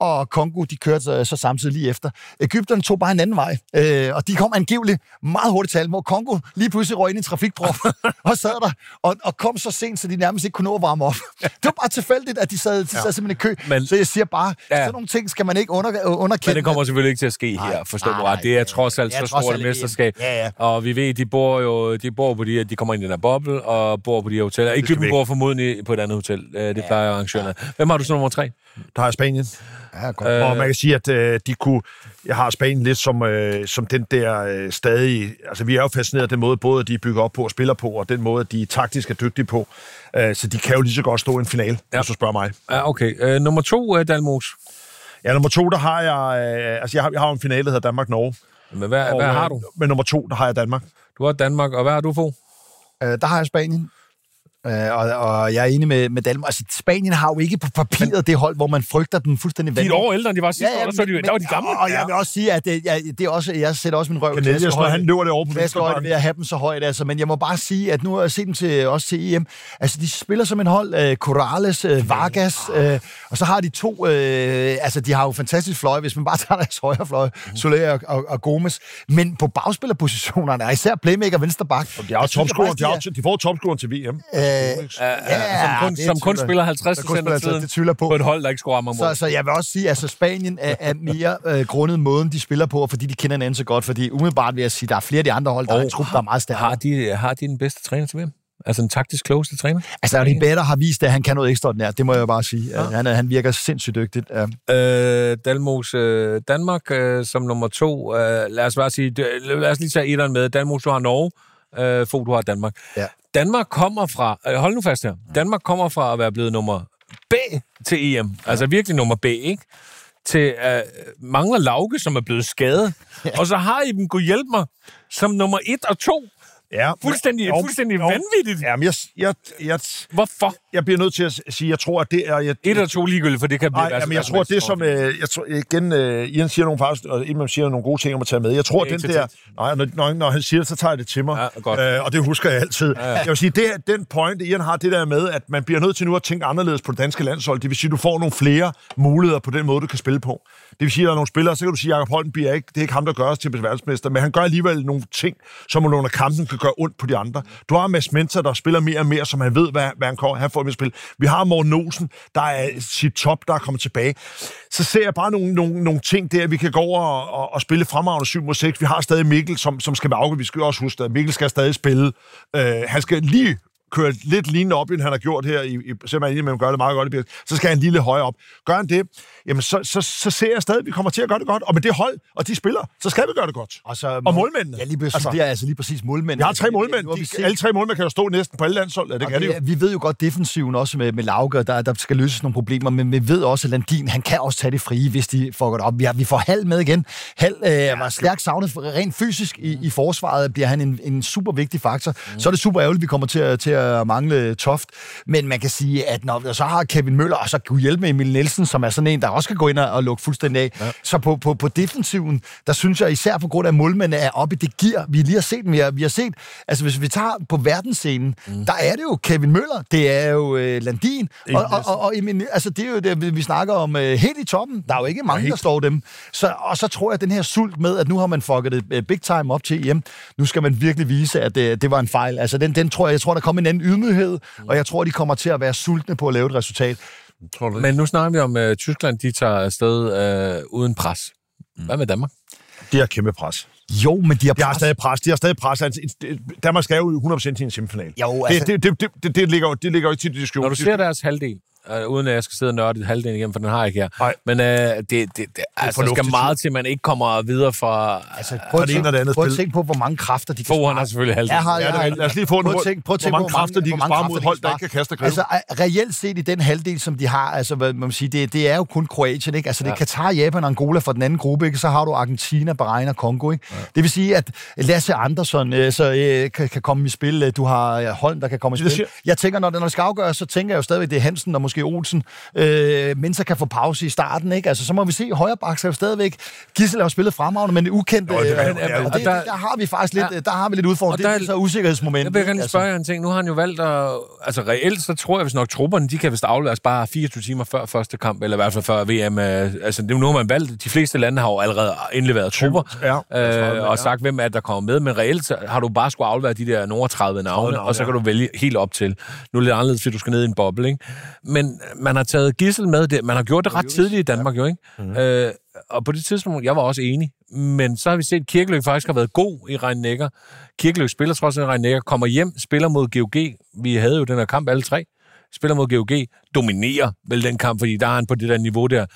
C: og Kongo, de kørte øh, så samtidig lige efter. Ægypterne tog bare en anden vej, øh, og de kom angiveligt meget hurtigt til alt, hvor Kongo lige pludselig røg ind i en trafikprop og sad der, og, og kom så sent, så de nærmest ikke kunne nå at varme op. Det var bare tilfældigt, at de sad, de sad simpelthen i kø.
A: Men-
C: Men, så jeg siger bare,
A: Ja.
C: ja. sådan nogle ting skal man ikke under, øh, underkende.
A: Men det kommer selvfølgelig ikke til at ske
C: Nej,
A: her, forstå
C: nej,
A: mig ret.
C: nej,
A: Det er
C: ja,
A: trods alt
C: det er
A: så
C: trods
A: stort et
C: alt en-
A: mesterskab.
C: ja, ja.
A: Og vi ved, de bor jo de bor på de her, de kommer ind i den her boble og bor på de her hoteller. Ægypten
B: væk.
A: bor formodentlig på et andet hotel. Øh, Det plejer arrangørerne. Hvem har du som nummer tre?
B: Der er Spanien.
C: Ja, godt.
B: Øh. Og man kan sige, at øh, de kunne... Jeg har Spanien lidt som, øh, som den der øh, stadig... Altså, vi er jo fascineret af den måde, både de bygger op på og spiller på, og den måde, de taktisk er dygtige på. Øh, så de kan jo lige så godt stå i en finale, ja. hvis du spørger mig.
A: Ja, okay. Øh, nummer to, øh, Dalmos.
B: Ja, nummer to, der har jeg... Øh, altså, jeg har, jeg har jo en finale, der hedder Danmark-Norge.
A: Men hvad, hvad
B: øh,
A: har du?
B: Men nummer to, der har jeg Danmark.
A: Du har Danmark, og hvad har du på?
C: Øh, der har jeg Spanien. Øh, og, og jeg er enig med, med Danmark. Altså, Spanien har jo ikke på papiret det hold, hvor man frygter dem fuldstændig
A: De er et
C: vanvittigt.
A: år ældre, end de var sidste ja, ja, år, så er de, der var de gamle.
C: Og, og jeg vil også sige, at det, jeg, det er også, jeg sætter også min røv
B: Cornelius, når han løber det over på
C: venstre
B: venstre
C: højde
B: bakke.
C: ved at have dem så højt. Altså. Men jeg må bare sige, at nu har jeg set dem til, også til EM. Altså, de spiller som en hold. Øh, Corrales, øh, Vargas, øh, og så har de to... Øh, altså, de har jo fantastisk fløj, hvis man bare tager deres højre fløj,
B: Mm.
C: Soler og, og, og Gomes. Men på bagspillerpositionerne, og især playmaker venstre bak.
B: De, har
C: jeg synes jo
B: topscoren,
C: faktisk,
B: de, har, de får topscoren til VM.
C: er- Øh,
A: altså, som kun,
C: det
A: som kun
C: tvivler-
A: spiller 50
C: der kun
A: procent af
C: spiller 50,
A: tiden
C: det tvivler jeg på.
A: på et hold, der ikke scorer mange mål.
C: Så, så jeg vil også sige, at altså, Spanien er, er mere øh, grundet måden, de spiller på, og fordi de kender hinanden så godt. Fordi umiddelbart vil jeg sige, at der er flere af de andre hold, der
A: Og
C: er en trup, der er meget stærkere.
A: Har de, har de den bedste træner til hvem? Altså en taktisk klogeste træner?
C: Altså, Ribeiro har vist, at han kan noget ekstraordinært. Det må jeg jo bare sige. Ja. Han, er- han virker sindssygt dygtigt. Øhm, Ja.
A: Øh, Dalmos øh, Danmark øh, som nummer to. Øh, lad os bare sige, det- lad os lige tage etteren med. Dalmos, du har Norge. Øh, Fogh, du har Danmark.
C: Ja.
A: Danmark kommer fra, øh, hold nu fast her,
B: Mm.
A: Danmark kommer fra at være blevet nummer B til EM. Altså virkelig nummer B, ikke? Til øh, mangler Lauke, som er blevet skadet. Og så har I dem, kunne hjælpe mig, som nummer et og to.
B: Ja,
A: Fuldstændig,
B: Jo,
A: fuldstændig
B: jo.
A: vanvittigt.
B: Jamen, jeg, jeg, jeg,
A: Hvorfor?
B: jeg bliver nødt til at sige, jeg tror, at det er... Jeg,
A: Et og to ligegyldigt, for det kan blive...
B: Nej,
A: altså,
B: jamen, jeg tror, det som... Øh, jeg tror, igen, øh, Ian siger nogle, faktisk, og Iman siger nogle gode ting om at tage med. Jeg tror,
A: Det er
B: den
A: ikke
B: der...
A: så
B: Nej, når, når, når han siger det, så tager jeg det til mig.
A: Ja, godt.
B: Øh, og det husker jeg altid. Ja, ja. Jeg vil sige, det, er- den point, Ian har, det der med, at man bliver nødt til nu at tænke anderledes på det danske landshold. Det vil sige, du får nogle flere muligheder på den måde, du kan spille på. Det vil sige, at der er nogle spillere, så kan du sige, at Jacob Holtenby er ikke, det er ikke ham, der gør os til verdensmester, men han gør alligevel nogle ting, som under kampen kan gøre ondt på de andre. Du har Mads Mensa, der spiller mere og mere, som han ved, hvad, hvad han, kommer, han får med at spille. Vi har Morten Olsen, der er sit top, der er kommet tilbage. Så ser jeg bare nogle, nogle, nogle ting der, vi kan gå over og, og, og spille fremragende 7 mod 6. Vi har stadig Mikkel, som, som skal være afgivet. Vi skal jo også huske, at Mikkel skal stadig spille. Øh, han skal lige køre lidt lignende op, end han har gjort her, i, i, selvom han man gør det meget godt i Birk, så skal han lige lidt højere op. Gør han det, jamen så, så, så ser jeg stadig, at vi kommer til at gøre det godt. Og med det hold, og de spillere, så skal vi gøre det godt.
C: Og, så,
B: og målmændene.
C: Ja, lige præcis. Altså,
B: altså,
C: det er altså lige præcis målmændene.
B: jeg har tre
C: Altså,
B: målmænd.
C: nu har vi set-
B: De, alle tre målmænd kan jo stå næsten på alle landshold. Ja, det
C: Og
B: kan de jo.
C: det, vi ved jo godt defensiven også med, med Lauke, der, der skal løses nogle problemer, men vi ved også, at Landin, han kan også tage det frie, hvis de får det op. Vi, har, vi får halv med igen. Halv øh, var stærkt savnet for- rent fysisk i, i forsvaret, bliver han en, en super vigtig faktor. Mm. Så er det super ærgerligt, at vi kommer til at, til at mangle Toft, men man kan sige, at når så har Kevin Møller, og så kunne hjælpe med Emil Nielsen, som er sådan en, der også kan gå ind og, og lukke fuldstændig af. Ja. Så på, på, på defensiven, der synes jeg især på grund af, at målmændene er oppe i det gear, vi lige har set. dem. Vi har, vi har set, altså hvis vi tager på verdensscenen, mm. der er det jo Kevin Møller, det er jo øh, Landin, og, og, og, og Emil- altså, det er jo det, vi- vi snakker om øh, helt i toppen. Der er jo ikke mange, der slår dem. Så, og så tror jeg, at den her sult med, at nu har man fucket det øh, big time op til EM, nu skal man virkelig vise, at øh, det var en fejl. Altså den, den tror jeg, jeg tror, der kommer en anden ydmyghed, og jeg tror, de kommer til at være sultne på at lave et resultat.
A: Men nu snakker vi om, at Tyskland de tager afsted øh, uden pres. Hvad med Danmark?
B: De har kæmpe pres.
C: Jo, men de har,
B: De har
C: pres.
B: stadig pres. De har stadig pres. Altså, Danmark skal jo 100% til en semifinal.
C: Jo,
B: Det-
C: altså-
B: det, det, det, det, det, ligger, jo- det ligger jo ikke til diskussion.
A: Når du ser deres halvdel, øh, uden at jeg skal sidde og nørde halvdelen igen, for den har jeg ikke her.
B: Nej.
A: Men øh, det, det, det altså, der skal
B: fornuftigt.
A: meget til, at man ikke kommer videre fra...
C: Altså, prøv
B: Og
C: at,
B: det ene og det
C: tænke,
B: andet
C: prøv at
B: spil.
C: tænke på, hvor mange kræfter de kan
A: Bo, han har selvfølgelig halvdelen.
C: Jeg har,
B: Ja,
C: jeg,
B: det er rigtigt. Lad os lige få en-
C: prøv
B: hvor-
C: at tænke, prøv at
B: hvor
C: tænke,
B: mange kræfter de
C: hvor
B: kan
C: mange
B: spare
C: kræfter
B: mod
C: de
B: hold,
C: kan
B: der
C: spare.
B: ikke kan kaste og gribe.
C: Altså, a- reelt set i den halvdel, som de har, altså, hvad man siger, det, det er jo kun Kroatien, ikke? Altså, det er Katar, Japan og Angola fra den anden gruppe, ikke? Så har du Argentina, Bahrain og Kongo, ikke? Det vil sige, at Lasse Andersson øh, så, øh, kan, kan komme i spil. Du har øh, Holm, der kan komme i
B: Det
C: spil. Jeg tænker, når, det- når det skal afgøres, så tænker jeg jo stadigvæk, det er Hansen og måske Olsen, øh, men så kan få pause i starten, ikke? Altså, så må vi se, højre bak skal jo stadigvæk. Gissel har jo spillet fremragende, men ukendt.
B: Jo, det er-
C: øh,
B: det er-
C: og det-
A: der-
C: der har vi faktisk lidt,
A: Ja.
C: der har vi lidt udfordring.
A: Og
C: Det er
A: der-
C: så usikkerhedsmoment.
A: Jeg vil gerne lige
C: ikke?
A: spørge jer en ting. Nu har han jo valgt at... Altså reelt, så tror jeg, hvis nok trupperne, de kan vist afleveres bare 24 timer før første kamp, eller i hvert fald før VM. øh, Altså, det, er jo nu har man valgt. De fleste lande har jo allerede indleveret trupper,
B: ja.
A: øh, og sagt, hvem er det, der kommer med. Men reelt så har du bare skulle aflevere de der nogle 30 navne,
B: navne,
A: og så
B: ja.
A: kan du vælge helt op til. Nu er det lidt anderledes, fordi du skal ned i en boble, ikke? Men man har taget gissel med det. Man har gjort det ret tidligt i Danmark, jo, ikke?
B: Mhm.
A: Øh, og på det tidspunkt, jeg var også enig. Men så har vi set, at Kirkeløg faktisk har været god i Regn Necker. Kirkeløg spiller trods alt i Regn Necker, kommer hjem, spiller mod GOG. Vi havde jo den her kamp alle tre. Spiller mod GOG, dominerer vel den kamp, fordi der er han på det der niveau der.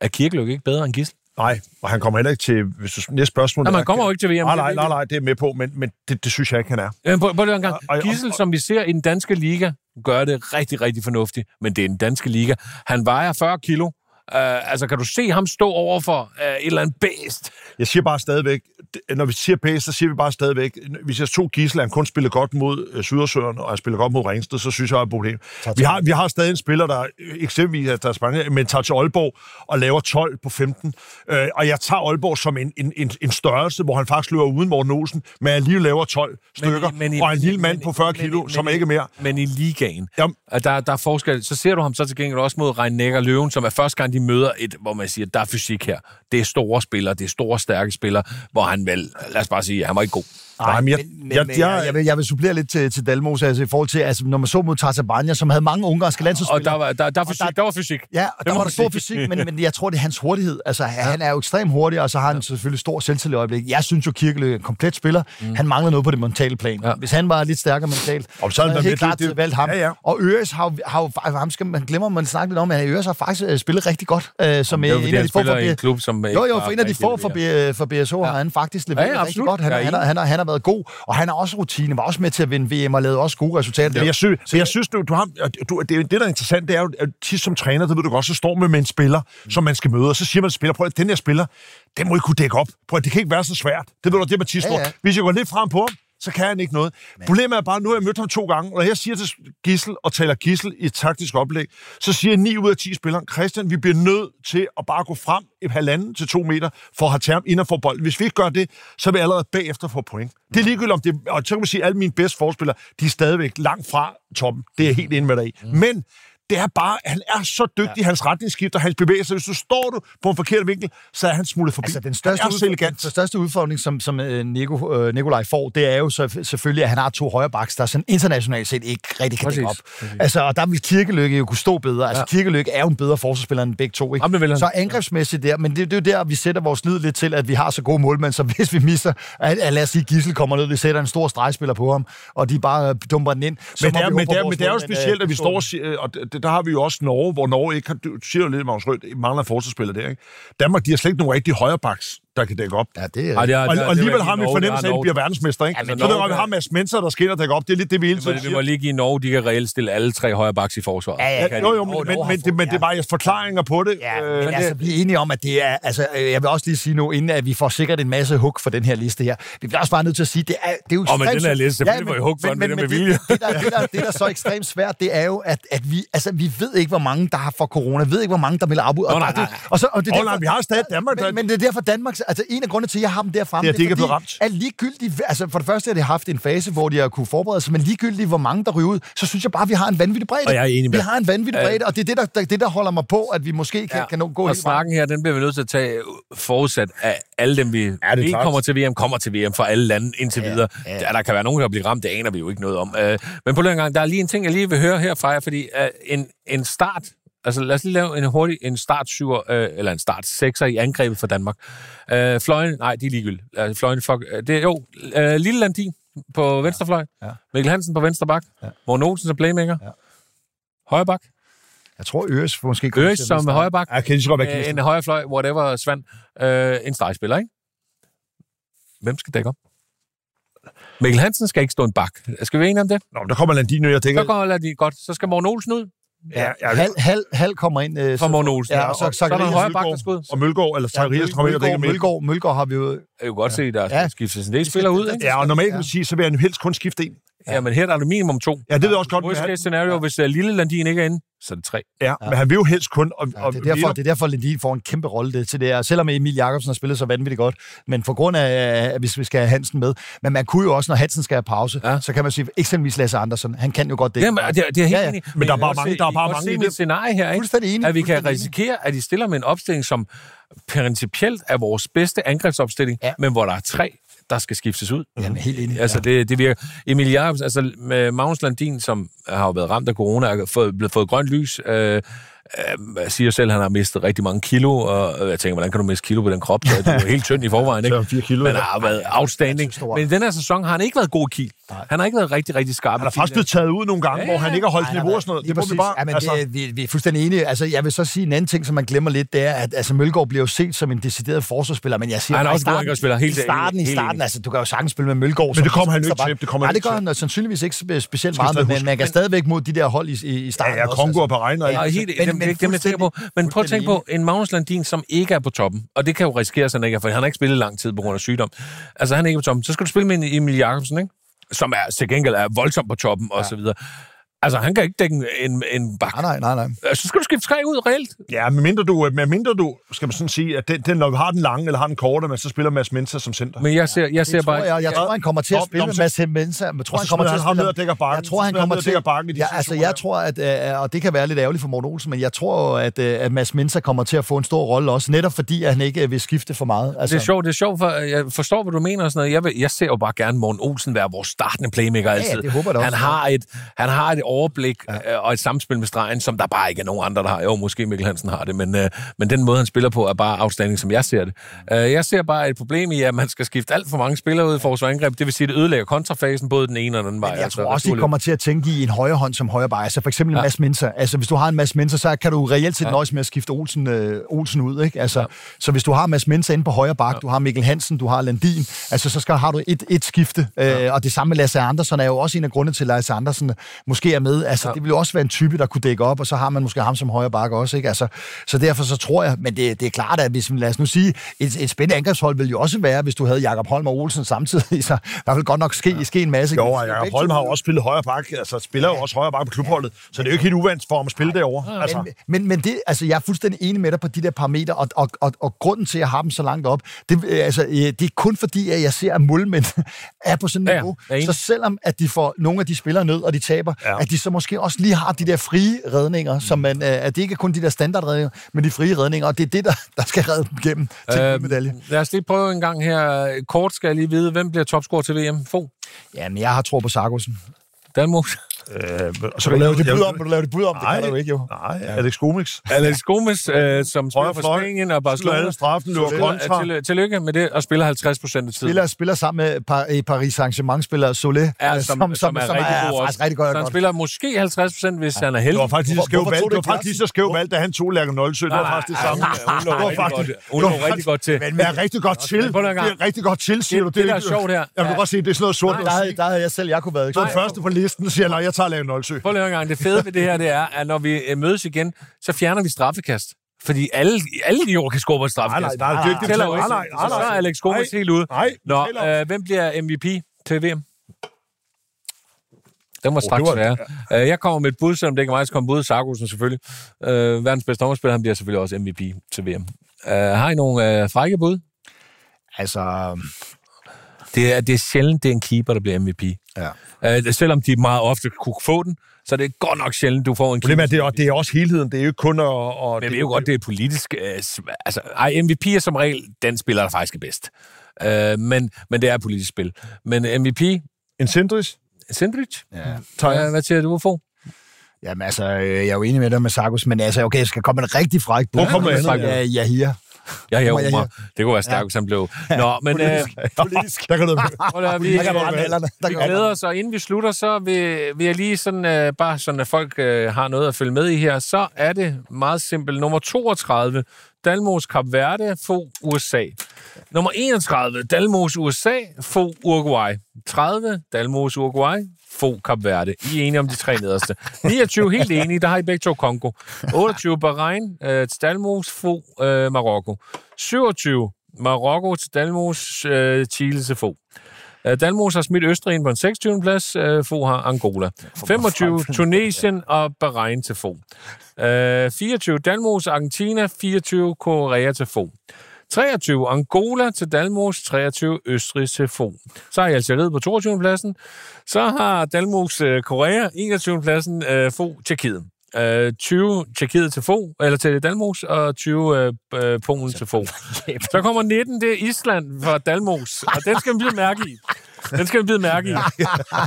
A: Er Kirkeløg ikke bedre end Gissel?
B: Nej, og han kommer heller ikke til... Hvis du, næste spørgsmål...
A: Nej,
B: er-
A: man kommer jo ikke til VM.
B: Nej, nej, nej, nej, det er med på, men, men det, det synes jeg ikke, han er.
A: Øh, prøv, prøv lige en gang.
B: Og- og-
A: Gissel,
B: og-
A: som vi ser i den danske liga, gør det rigtig, rigtig fornuftigt, men det er den danske liga. Han vejer 40 kilo. Uh, altså, kan du se ham stå over for uh, et eller andet bæst?
B: Jeg siger bare stadigvæk, det- når vi siger base, så siger vi bare stadigvæk, vi ser to gisler, han kun spiller godt mod øh, Sydersøren, og han spiller godt mod Ringsted, så synes jeg, er et problem. Vi har, vi har stadig en spiller, der øh, eksempelvis er- der er Spanien, men tager til Aalborg og laver 12 på 15. Øh, og jeg tager Aalborg som en, en, en, en størrelse, hvor han faktisk løber uden Morten Olsen, men alligevel laver 12 stykker, men, men, og er en lille mand
A: men-
B: på 40
A: men-
B: kilo,
A: men-
B: som
A: men-
B: er ikke mere.
A: Men i ligaen,
B: Jamen.
A: at der, der er forskel. Så ser du ham så til gengæld også mod Reinnæk og Løven, som er første gang, de møder et, hvor man siger, der er fysik her. Det er store spillere, det er store, stærke spillere, hvor han vel, lad os bare sige, han var ikke god.
B: Nej, men jeg,
C: Altså- men, jeg, jeg, jeg, jeg, vil, jeg vil supplere lidt til, til Dalmos, altså i forhold til, altså, når man så mod Tatabania, som havde mange ungarske landsholdsspillere.
A: Og der var, der, der, er
C: Og
A: fysik, der,
C: der-
A: var fysik.
C: Ja, og der
A: må
C: var
A: man
C: der stor
A: sige.
C: fysik, men, men jeg tror, det er hans hurtighed. Altså, ja. han er jo ekstremt hurtig, og så har han selvfølgelig stor selvtillid i øjeblikket. Jeg synes jo, Kirkelø er en komplet spiller. Mm. Han mangler noget på det mentale plan.
A: Ja.
C: Ja. Hvis han var lidt stærkere mentalt,
B: Og så
C: så
B: er
C: havde
B: der
C: jeg helt
B: virkelig-
C: klart
B: det-
C: det, valgt ham.
B: Ja, ja.
C: Og Øres har, jo- har, jo- har ham skal, man glemmer, man snakker lidt om, at Øres har faktisk øh, spillet rigtig godt. Øh, som
A: Det er jo,
C: øh,
A: fordi han
C: få
A: spiller
C: for
A: i en
C: B-
A: klub, som
C: Jo,
A: ikke
C: jo,
A: bare
C: for en af de
A: rigtig
C: få for, B- øh, for BSO ja. har han faktisk leveret
A: Ja, ja,
C: ja, rigtig
A: absolut.
C: godt. Han,
A: Jeg er
C: han, har-
A: enig.
C: han, har- han har været god, og han har også rutine, var også med til at vinde VM og lavede også gode resultater.
B: Men jeg synes, men jeg synes du, du har, og du, det, er jo- det, der er interessant, det er jo, at tit som træner, det ved du godt, så står man med en spiller, som man skal møde, og så siger man til spiller, prøv at den her spiller, den må I kunne dække op. Prøv at, det kan ikke være så svært. Det ved du, det er Mathis
C: Ja,
B: ja,
C: ja.
B: Hvis jeg går lidt frem på ham, så kan han ikke noget. Men. Problemet er bare, nu har jeg mødt ham to gange, og når jeg siger til Gissel og taler Gissel i et taktisk oplæg, så siger 9 ud af 10 spillere, Christian, vi bliver nødt til at bare gå frem et halvanden til to meter for at have term inden for bolden. Hvis vi ikke gør det, så vil jeg allerede bagefter få point. Det
C: Mm.
B: er ligegyldigt om det, og så kan man sige, at alle mine bedste forspillere, de er stadigvæk langt fra toppen. Det er jeg helt inde med dig i.
C: Mm.
B: Men det er bare, han er så dygtig, ja. hans retningsskifter, hans bevægelser. Hvis du står du på en forkert vinkel, så er han smuttet forbi.
C: Altså, den største,
B: han er så
C: udfordring,
B: elegant.
C: den største udfordring, som, som øh, Nico, øh, Nikolaj får, det er jo så, selvfølgelig, at han har to højre baks, der sådan internationalt set ikke rigtig kan
A: Præcis.
C: dække op. Altså, og der vil Kirkeløkke jo kunne stå bedre. Altså, Kirkeløkke er jo en bedre forsvarsspiller end begge to. Ikke?
A: Jamen, det vil han.
C: så angrebsmæssigt der, men det, det, er jo der, vi sætter vores lid lidt til, at vi har så gode målmænd, så hvis vi mister, at, at lad os sige, Gissel kommer ned, vi sætter en stor stregspiller på ham, og de bare øh, dumper den ind. Så
B: Men
C: må
B: det, er,
C: vi håbe
B: men,
C: på,
B: det er,
C: vores
B: men det er jo
C: målmænd, øh,
B: specielt, at vi
C: forstår
B: står
C: det.
B: og siger, og det- der har vi jo også Norge, hvor Norge ikke har, du siger jo lidt, Magnus Rød, mangler en forsvarsspiller der, ikke? Danmark, de har slet ikke nogen rigtige højrebaks, der kan dække op.
C: Ja, det er...
A: Ej, det er-
B: Og,
A: det er-
B: og alligevel
A: det er
B: har vi
A: Norge,
B: fornemmelse
A: det
B: af,
A: er
B: at vi bliver
A: Norge.
B: verdensmester, ikke?
A: Ja, men
B: så
A: Norge
B: der, vi
A: er-
B: har Mads Menser, der skinner og dækker op. Det er lidt det, vi hele
A: Men
B: tiden
A: Vi må
B: siger.
A: lige give Norge, de kan reelt stille alle tre højre baks i forsvaret.
C: Ja, ja,
A: Det kan
B: Ja,
A: de.
B: jo, jo, men,
C: Norge-
B: men,
C: Norge har
B: men, det,
C: fået-
B: men det er
C: ja.
B: bare jeres forklaringer på det.
C: Ja,
B: Øh,
C: men
B: det-
C: altså, vi er enige om, at det er... Altså, øh, jeg vil også lige sige nu, inden at vi får sikkert en masse hug for den her liste her. Vi bliver også bare nødt til at sige, det er, det er jo
A: Åh, men
C: ekstremt-
A: den her liste, selvfølgelig får I hug for den, men det er med vilje.
C: Det, det, der, det, der, det, der er så ekstremt svært, det er jo, at, at vi, altså, vi ved ikke, hvor mange, der har for corona. Vi ved ikke, hvor mange, der melder afbud.
A: Nå,
C: Og,
A: nej,
C: og det-
A: nej, nej.
C: Og, så, og det er
B: Åh, nej, vi har stadig Danmark, der-
C: Men, men det er derfor Danmark... Altså, en af grundene til, at jeg har dem derfremme,
B: Det er, at de ikke er blevet ramt.
C: at ligegyldigt... Altså, for det første har de haft en fase, hvor de har kunne forberede sig, men ligegyldigt, hvor mange der ryger ud, så synes jeg bare, at vi har en vanvittig bredde.
A: Og jeg er enig med
C: Vi
A: dig.
C: har en vanvittig
A: Øh.
C: bredde, og det er det, der, der, det, der holder mig på, at vi måske kan, ja. kan nå- gå
A: og
C: helt vejen.
A: snakken her, den bliver vi nødt til at tage øh, forudsat af alle dem, vi ja,
B: er
A: ikke
B: klart.
A: kommer til VM, kommer til VM fra alle lande indtil
C: Ja,
A: videre. Ja,
C: ja.
A: Der, der kan være nogen, der bliver ramt, det aner vi jo ikke noget om. Øh, men på den gang, der er lige en ting, jeg lige vil høre her fra jer, fordi øh, en, en start, altså lad os lige lave en hurtig en start syver, øh, eller en start sekser i angrebet for Danmark. Øh, fløjen, nej, de er ligegyldige. Øh, fløjen, fuck, øh, det er jo øh, Lille Landin på venstrefløj, ja.
C: Ja.
A: Mikkel Hansen på venstre bak, ja. Morten Olsen som playmaker, ja. højre bak,
C: Jeg tror, Øres måske... kommer
A: Øres
C: til at
A: som
C: vinde
A: højre bak,
B: Jeg kan lige så godt være
A: øh,
B: Kirsten.
A: en højre fløj, whatever, Svand, øh, en stregspiller, ikke? Hvem skal dække op? Mikkel Hansen skal ikke stå en bak. Skal vi være enige om det?
B: Nå, men der kommer Landino, jeg tænker...
A: Så går de godt. Så skal Morten Olsen ud
B: Ja, ja,
C: Hal, hal, hal kommer ind... Øh,
A: fra Morten Olsen.
C: Ja, og så-
A: så, så, er der en
C: Zacharias
A: højre bak, der
B: Mølgaard.
A: skal ud.
B: og Mølgaard, eller Zacharias, kommer ind og dækker
C: Mølgaard, Mølgaard,
B: med.
C: Mølgaard har vi jo...
A: Jeg kan godt se, at der
C: Ja.
A: skal skiftes en del spillere ud. Ikke?
B: Ja, og normalt
C: Ja.
B: vil jeg sige, så vil han helst kun skifte en.
A: Ja, men her er der minimum to.
B: Ja, det ved jeg også godt. Men
A: Worst
B: han,
A: case scenario, hvis øh, Lille Landin ikke er inde, så er det tre.
B: ja, men han vil jo helst kun... Og,
C: Ja, det, er derfor, det er derfor, Lindin får en kæmpe rolle det, til det her, selvom Emil Jakobsen har spillet så vanvittigt godt, men på grund af, øh, hvis vi skal have Hansen med. Men man kunne jo også, når Hansen skal have pause,
A: Ja.
C: ja. så kan man sige, eksempelvis Lasse Andersen, han kan jo godt det.
A: Det, Jamen, det, er- det er helt
C: Ja, ja.
A: enig.
B: Men der er
A: I kan
B: bare
A: også
B: mange-
A: se-
B: der er
A: I
B: bare
A: kan
B: mange
A: også
B: i
A: se mit
B: det.
A: scenarie her, ikke?
C: Fuldstændig enig.
A: At vi kan
C: fuldstændig enig.
A: risikere, at de stiller med en opstilling, som principielt er vores bedste angrebsopstilling, ja.
C: Ja.
A: men hvor der er tre, der skal skiftes ud.
C: Jamen, helt enig.
A: Altså,
C: Altså,
A: det, det virker. Emil Jacobsen, altså med Magnus Landin, som har jo været ramt af corona, er fået, blevet fået grønt lys, øh, øh, siger selv, at han har mistet rigtig mange kilo, og øh, jeg tænker, hvordan kan du miste kilo på den krop? Du er jo helt tynd i forvejen, ikke?
B: Så er han fire kilo,
A: Men
B: ja.
A: har været
B: altså
A: outstanding.
C: så stor.
A: Men i den her sæson har han ikke været god i kiel. Han har ikke været rigtig, rigtig skarp.
B: Han er
A: i
B: faktisk
A: kiel.
B: blevet taget ud nogle gange,
A: Ja,
B: hvor han ikke har holdt
C: Nej, nej,
B: niveau
C: nej.
B: og sådan noget.
C: Lige
B: Det må vi
C: præcis.
B: bare...
C: Ja, men
B: altså,
C: det, vi, vi er fuldstændig enige. Altså, jeg vil så sige en anden ting, som man glemmer lidt, det er, at altså, Mølgaard bliver jo set som en decideret forsvarsspiller, men jeg siger...
A: Han er
C: bare i
A: også en god
C: starten-
A: angrebsspiller, helt
C: I starten, i
A: enig, helt
C: starten
A: enig.
C: altså, du kan jo sagtens spille med Mølgaard. som
B: det kommer han jo ikke
C: venstre
B: til,
C: bak.
B: det kommer han
C: Nej, det
B: ikke
C: gør
B: til.
C: han øh, sannsynligvis ikke spe- specielt
B: Skal vi
C: meget,
B: stadig
C: men
B: huske.
C: man kan stadigvæk mod de der hold i, i i
B: ja,
C: starten.
B: ja,
C: også,
B: Kongo
C: altså.
B: og Bahrein og...
A: Nej,
B: alt.
A: helt, men, det
C: Men-
A: er
C: men
A: ikke dem, jeg tænker på. Men prøv at tænke på, en Magnus Landin, som ikke er på toppen, og det kan jo risikere, at han ikke er, for han har ikke spillet lang tid på grund af sygdom. Altså, han er ikke på toppen. Så skal du spille med en Emil Jacobsen, ikke? Som er, til gengæld er voldsom på toppen, og så videre. Altså, han kan ikke dække en, en, en bak. Altså,
C: Nej, nej, nej, nej.
A: Så skal du skifte tre ud reelt.
B: Ja, men mindre du, øh, men mindre du, skal man sådan sige, at den, den, når vi har den lange eller har den korte, men så spiller Mads Mensa som center.
A: Men jeg ser, jeg ser
C: tror
A: bare...
C: jeg, jeg tror, han kommer til at
B: Nå,
C: spille
B: nå,
C: med
B: så-
C: Mads Hemmensa. Jeg tror,
B: Og
C: han
B: så
C: kommer til
B: smider
C: at
B: han ham
C: spille...
B: ned og dækker bakken.
C: Jeg tror, han
B: Så smider han
C: kommer
B: ned og
C: til...
B: dækker bakken i de
C: ja, altså,
B: situationer
C: jeg
B: der.
C: tror, at... øh, Og det kan være lidt ærgerligt for Morten Olsen, men jeg tror, at, øh, at Mads Mensa kommer til at få en stor rolle også, netop fordi, at han ikke øh, vil skifte for meget. Altså,
A: Det er sjovt, det er sjovt, for øh, jeg forstår, hvad du mener og sådan noget. Jeg, vil, jeg ser jo bare gerne Morten Olsen være vores startende playmaker
C: ja,
A: altid.
C: det håber jeg da
A: han,
C: også.
A: har et, han har et overblik ja. øh, og et samspil med stregen, som der bare ikke er nogen andre, der har. Jo, måske Mikkel Hansen har det, men, øh, men den måde, han spiller på, er bare afstanding, som jeg ser det. Øh, jeg ser bare et problem i, at man skal skifte alt for mange spillere ud i forsvarsangreb. Det vil sige, at det ødelægger kontrafasen både den ene og den anden vej.
C: Men jeg
A: altså,
C: tror også, de
A: naturligt.
C: kommer til at tænke i en højre hånd som højre bare. Altså for eksempel en masse Mensa. Altså hvis du har en masse Mensa, så kan du reelt set nøjes med at skifte Olsen, øh, Olsen ud. Ikke? Altså, Så hvis du har masse Mensa inde på højre bak, du har Mikkel Hansen, du har Landin, altså så skal, har du et, et skifte. Øh, og det samme med Lasse Andersen er jo også en af grundene til, at Lasse Andersen måske er med. Altså det vil jo også være en type, der kunne dække op, og så har man måske ham som højre bak også. Ikke? Altså, så derfor så tror jeg, men det, det er klart, at hvis, lad os nu sige, et, et spændende angrebshold ville jo også være, hvis du havde Jakob Holm og Olsen samtidig, så der ville godt nok ske, ske en masse.
B: Jo, og Jacob Holm har jo også spillet højre bak, altså spiller jo også højre bak på klubholdet, så det er jo ikke helt uvandt for ham at spille derovre. Altså,
C: Men, men, men det, altså, jeg er fuldstændig enig med dig på de der parametre, og, og, og, og grunden til, at jeg har dem så langt op, det, øh, altså, øh, det er kun fordi, at jeg ser, at målmænd er på sådan
A: Ja,
C: et
A: ja,
C: niveau.
A: jeg er enig.
C: så selvom, at de får nogle af de spillere ned, og de taber,
B: Ja.
C: ja. at de så måske også lige har de der frie redninger, som man, øh, at det ikke er kun de der standardredninger, men de frie redninger, og det er det, der, der skal redde dem igennem til øh, medalje.
A: Lad os lige prøve en gang her. Kort skal jeg lige vide, hvem bliver topscorer til VM? Fo?
C: Ja, men jeg har tro på Sargussen.
A: Danmark?
B: øh, og så
C: Du laver det bud om, du laver det bud om, det
B: Nej,
C: kan du jo ikke, jo.
B: Nej, Alex Gomix.
A: Alex Gomes, øh, som spiller
B: Højre
A: for
B: fløj.
A: Spanien og
B: Slå
A: Barcelona.
B: alle straffen, løber kontra.
A: Tilly- Tillykke med det, og spiller 50 procent af tiden.
C: Spiller, spiller sammen med Par- Paris Saint-Germain-spiller Solé, øh,
A: Ja, som, som, som, er, rigtig god
C: faktisk
A: også.
C: rigtig godt.
A: så han
C: godt.
A: spiller måske 50 procent, hvis ja. han er
B: Det
A: heldig.
B: var faktisk lige så skæv
C: Hvorfor
B: valg.
C: tog du
B: Det var
C: ikke
B: faktisk lige så skæv valg, da han tog Lærke Nolsø. Det var
A: Nej,
B: faktisk det
A: nej,
B: samme.
A: nej, hun lå
B: Det var
A: rigtig
B: faktisk...
A: godt- hun lå rigtig godt til.
B: Men er rigtig godt til.
A: prøv nu en gang.
B: Det er rigtig godt til, siger
A: Det-
B: du.
A: det, der
B: er
A: er
B: ikke-
A: sjovt her,
B: Jeg vil
A: er-
B: godt sige, det er sådan noget sort.
C: Der havde, der havde jeg selv, jeg kunne været
B: Så den
C: ikke?
B: første på listen siger, nej, jeg tager Lærke Nolsø.
A: Prøv lige at høre en gang. Det fede ved det her, det er, at når vi øh, mødes igen, så fjerner vi straffekast. Fordi alle, alle idioter kan score på et
B: Nej,
A: straffekast.
B: nej, nej, det er ikke det, vi
A: Tæller jo
B: taler-
A: ikke.
B: nej, nej, nej,
A: Så er
B: nej.
A: Alex Gomes
B: Nej,
A: helt ude.
B: nej, vi
A: Nå,
B: taler om-
A: øh, hvem bliver MVP til VM? Den var
B: det
A: straks
B: var-
A: sværere. Øh, Jeg kommer med et bud, selvom det ikke er mig, så kommer budet Sargussen selvfølgelig. Øh, verdens bedste dommerspiller, han bliver selvfølgelig også MVP til VM. Øh, har I nogle øh, frække bud?
C: Altså,
A: øhm, Det er, det er sjældent, det er en keeper, der bliver MVP.
C: ja.
A: Øh, selvom de meget ofte kunne få den, så er det godt nok sjældent, du får en keeper.
B: Problemet er, det er, også- det er også helheden. Det er jo ikke kun at... at-
A: Men jeg ved jo godt, det er politisk... Øh, sv- altså, ej, MVP er som regel den spiller, der faktisk er bedst. Øh, men, men det er politisk spil. Men MVP,
B: En Sindris?
A: Sindrich,
C: ja.
A: Øh, hvad, hvad siger du, få?
C: Jamen altså, øh, jeg er jo enig med dig med Sarkus, men altså, okay, jeg skal komme med en rigtig fræk bud.
B: Prøv at komme med
C: Ja,
B: andet,
C: ja, ja, her.
A: Ja, ja,
C: Må jeg-
A: Omar. Det kunne være stærkt, ja. han blev. Nå, men... Øh,
B: Politisk. Der kan du...
A: prøv at høre, vi,
C: Der kan du ramme alderne. Der
A: vi
C: kan du
A: glæder os, og inden vi slutter, så vil, vil jeg lige sådan, øh, bare sådan, at folk øh, har noget at følge med i her, så er det meget simpelt. Nummer 32, Dalmos Kap Verde, få USA. Nummer 31, Dalmos USA, få Uruguay. 30, Dalmos Uruguay, få Kap Verde. I er enige om de tre nederste. 29, helt enige, der har I begge to Kongo. 28, Bahrain, øh, til Dalmos, få øh, Marokko. 27, Marokko til Dalmos, øh, Chile til få. Øh, Dalmos har smidt Østrig ind på en 26. plads, øh, Fo har Angola. 25, Tunesien og Bahrain til Fo. Øh, 24, Dalmos, Argentina, 24, Korea til Fo. 23, Angola til Dalmos, 23, Østrig til Fo. Så har I Algeriet på 22. pladsen. Så har Dalmos øh, Korea, 21. pladsen, øh, Fo, Tjekkiet. Øh, 20 Tjekkiet til Fo, eller til Dalmos, og 20 øh, øh, Polen til Fo. Så kommer 19, det er Island fra Dalmos, og den skal man blive mærke i. Den skal man blive mærke i.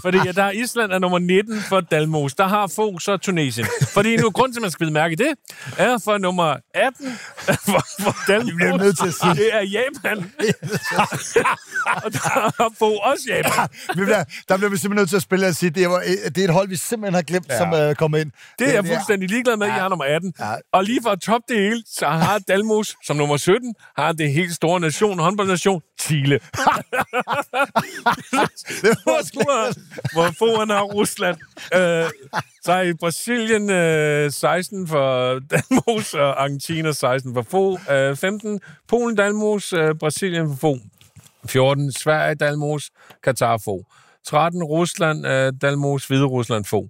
A: Fordi ja, der er Island er nummer 19 for Dalmos. Der har få så Tunesien. Fordi nu, grund til, at man skal blive mærke i det, er for nummer 18 for, for Dalmos.
C: bliver nødt til at sige.
A: Det er Japan. og der har få også Japan.
C: vi bliver, der bliver vi simpelthen nødt til at spille og sige, det er, det er et hold, vi simpelthen har glemt, ja. som uh, kommer ind.
A: Det er jeg
C: Den her-
A: fuldstændig ligeglad med, at jeg er nummer 18.
C: Ja.
A: Og lige for at toppe det hele, så har Dalmos som nummer 17, har det helt store nation, håndboldnation, Chile. hvor, scorer- hvor foran har Rusland. Øh, så er i Brasilien øh, 16 for Dalmos, og Argentina 16 for få. Øh, 15 Polen Dalmos, øh, Brasilien for få. 14 Sverige Dalmos, Katar få. 13 Rusland øh, Dalmos, Hvide Rusland få.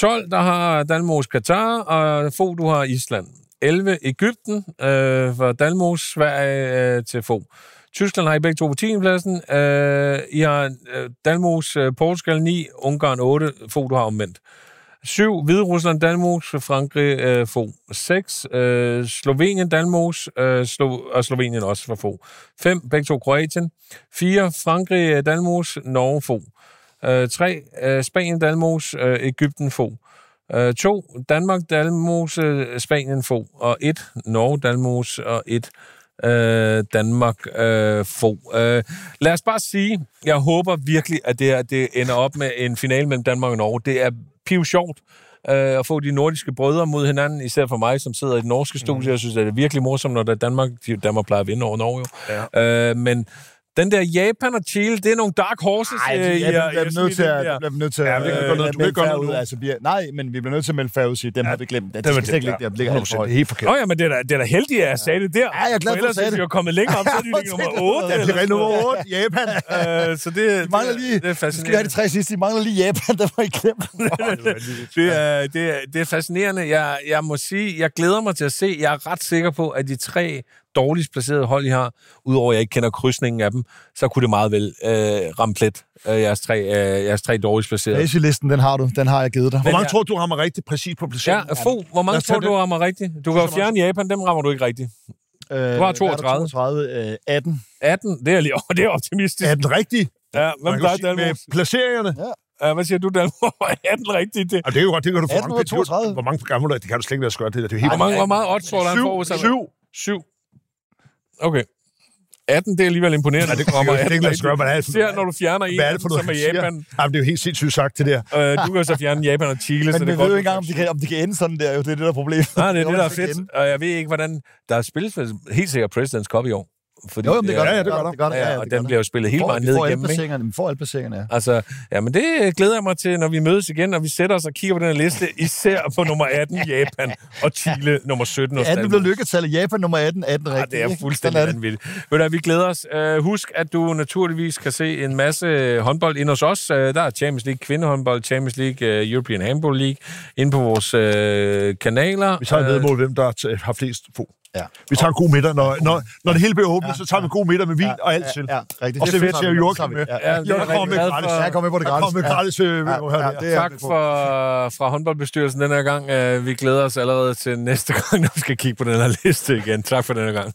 A: 12 der har Dalmos Katar, og få du har Island. 11 Ægypten øh, for Dalmos, Sverige øh, til få. Tyskland har I begge to på 10. pladsen. Øh, I har øh, Dalmos, øh, Portugal 9, Ungarn 8, få du har omvendt. 7. Hvide Rusland, Dalmos, Frankrig, øh, få. 6. Øh, Slovenien, Dalmos, øh, Slo- og Slovenien også for få. 5. Begge to Kroatien. 4. Frankrig, øh, Dalmos, Norge, få. 3. Øh, Spanien, Dalmos, øh, Ægypten, få. 2. Øh, Danmark, Dalmos, øh, Spanien, få. Og 1. Norge, Dalmos, og 1. Øh, Danmark øh, få. Øh, lad os bare sige, jeg håber virkelig, at det, her, det ender op med en finale mellem Danmark og Norge. Det er piv sjovt øh, at få de nordiske brødre mod hinanden, især for mig, som sidder i det norske
C: Mhm.
A: studie. Mm. Jeg synes, at det er virkelig morsomt, når der er Danmark, de- Danmark plejer at vinde over Norge. Jo. Ja. Øh, men den der Japan og Chile, det er nogle dark horses.
C: Ej,
A: øh,
C: vi
A: I
C: ja,
A: har-
C: vi
A: I har
C: bliver nødt
A: smidt
C: til
A: ind
C: at...
A: der.
C: vi bliver nødt til
B: Ja,
C: at-
B: vi kan ikke gøre noget.
C: at
B: Du kan ikke gøre
C: melde færre
B: noget
C: ud.
B: nu.
C: Altså, vi er, nej, men vi bliver nødt til at melde færre ud og sige, dem har vi glemt. Det, det, det, det, det, det ligger helt for højt.
B: Det er helt forkert.
A: Nå ja, men det er da, det er da heldigt, at jeg sagde det der. Ja,
C: jeg er glad for, at du
A: Ellers,
C: sagde
A: hvis
C: det.
A: vi var kommet længere op, så er de ligget nummer 8.
C: Ja,
B: Det er nummer 8, Japan.
A: Øh, så det,
C: De mangler
A: det,
C: lige...
A: det er
C: vi skal vi have
A: fascinerende.
C: de tre sidste. De mangler lige Japan, der var I glemt.
A: Det er, det, er, det er fascinerende. Jeg, jeg må sige, jeg glæder mig til at se. Jeg er ret sikker på, at de tre dårligst placerede hold, I har, udover at jeg ikke kender krydsningen af dem, så kunne det meget vel øh, ramme plet, øh, jeres, tre, øh, jeres tre dårligst placerede.
C: Racing-listen, den har du. Den har jeg givet dig.
B: Hvor mange
A: ja.
B: tror du rammer rigtig præcis på placeringen?
A: Ja, få, hvor
B: Lad
A: mange
B: os tage
A: tror du
B: det.
A: rammer rigtigt? Du kan jo fjerne Japan, dem rammer du ikke rigtigt.
C: Øh,
A: Du har
C: hvad er der?
A: 32.
C: 32, øh, 18.
A: 18, det er, lige, oh, det er optimistisk.
B: Er den rigtig?
A: Ja,
B: Man
A: hvem
B: kan
A: der er
B: sige, Med
A: Dalmos?
B: placeringerne?
A: Ja, hvad siger du, Dalmos? 18 rigtigt, det.
B: Ja, det er jo godt, det kan du få mange penge.
C: 1832.
B: Hvor mange gamle er det? Det kan du slet ikke lade os gøre, det der. Det er jo helt
A: Hvor mange, hvor meget odds tror du, han får?
B: Syv. Syv.
A: 7. Okay. 18, det er alligevel imponerende. Ja, det
B: Det kan du slet ikke lade os gøre, hvad det er.
A: Ser, når du fjerner en,
B: Hvad er det for noget,
A: som er
B: han siger?
A: Japan.
B: Jamen, det er jo helt sindssygt sagt, det der.
A: Øh, du kan jo så fjerne Japan og Chile, så
C: Men
A: det
C: vi
A: er
C: ved
A: godt.
C: jo ikke engang, om de, kan, om de kan ende sådan der. Jo, det er det, der er problemet.
A: Nej, det er
C: Jo,
A: det, der er
C: hvis de kan
A: fedt. Og jeg ved ikke, hvordan... Der er spillet helt sikkert President's Cup i år. Fordi,
C: Jo, jo, men det gør
A: ja,
C: der.
B: ja, det gør der.
C: det gør der.
A: ja,
C: det
A: og
C: gør
A: den
C: der.
A: bliver jo spillet hele
C: Får-
A: vejen
C: vi
A: ned
C: får alle
A: igennem, ikke?
C: placeringerne. Vi får alle placeringerne, ja.
A: Altså, ja, men det glæder jeg mig til, når vi mødes igen, og vi sætter os og kigger på den her liste, især på nummer 18, Japan, og Chile, nummer 17. og
C: 18 blev lykketallet. Japan nummer 18, 18 rigtigt.
A: Ja, det er
C: ikke?
A: fuldstændig
C: Sådan er det.
A: vanvittigt. Ved du, hvad, vi glæder os. Uh, husk, at du naturligvis kan se en masse øh, håndbold ind hos os. Uh, der er Champions League kvindehåndbold, Champions League uh, European Handball League, inde på vores uh, kanaler.
B: Vi tager et
A: Øh,
B: vedmål, hvem der t- har flest få.
C: Ja.
B: Vi tager en god middag. Når, når, når det hele bliver åbnet, så tager vi en god middag med vin og alt til.
C: Ja, rigtigt.
B: Og
C: Det
B: serverer
C: tager
B: til
C: vi. Så
B: Joachim
C: tager vi.
B: med.
C: Ja,
A: Ja,
C: ja.
A: det er
B: Jeg
A: rigtig
B: kommer med
A: glad
B: gratis.
A: for.
C: Jeg kommer med på det gratis.
B: Jeg kommer med gratis. Øh, ja,
C: Ja,
B: ja,
C: det er
A: Tak fra, fra Øh, håndboldbestyrelsen den her gang. Uh, vi glæder os allerede til næste gang, når vi skal kigge på den her liste igen. Tak for den her gang.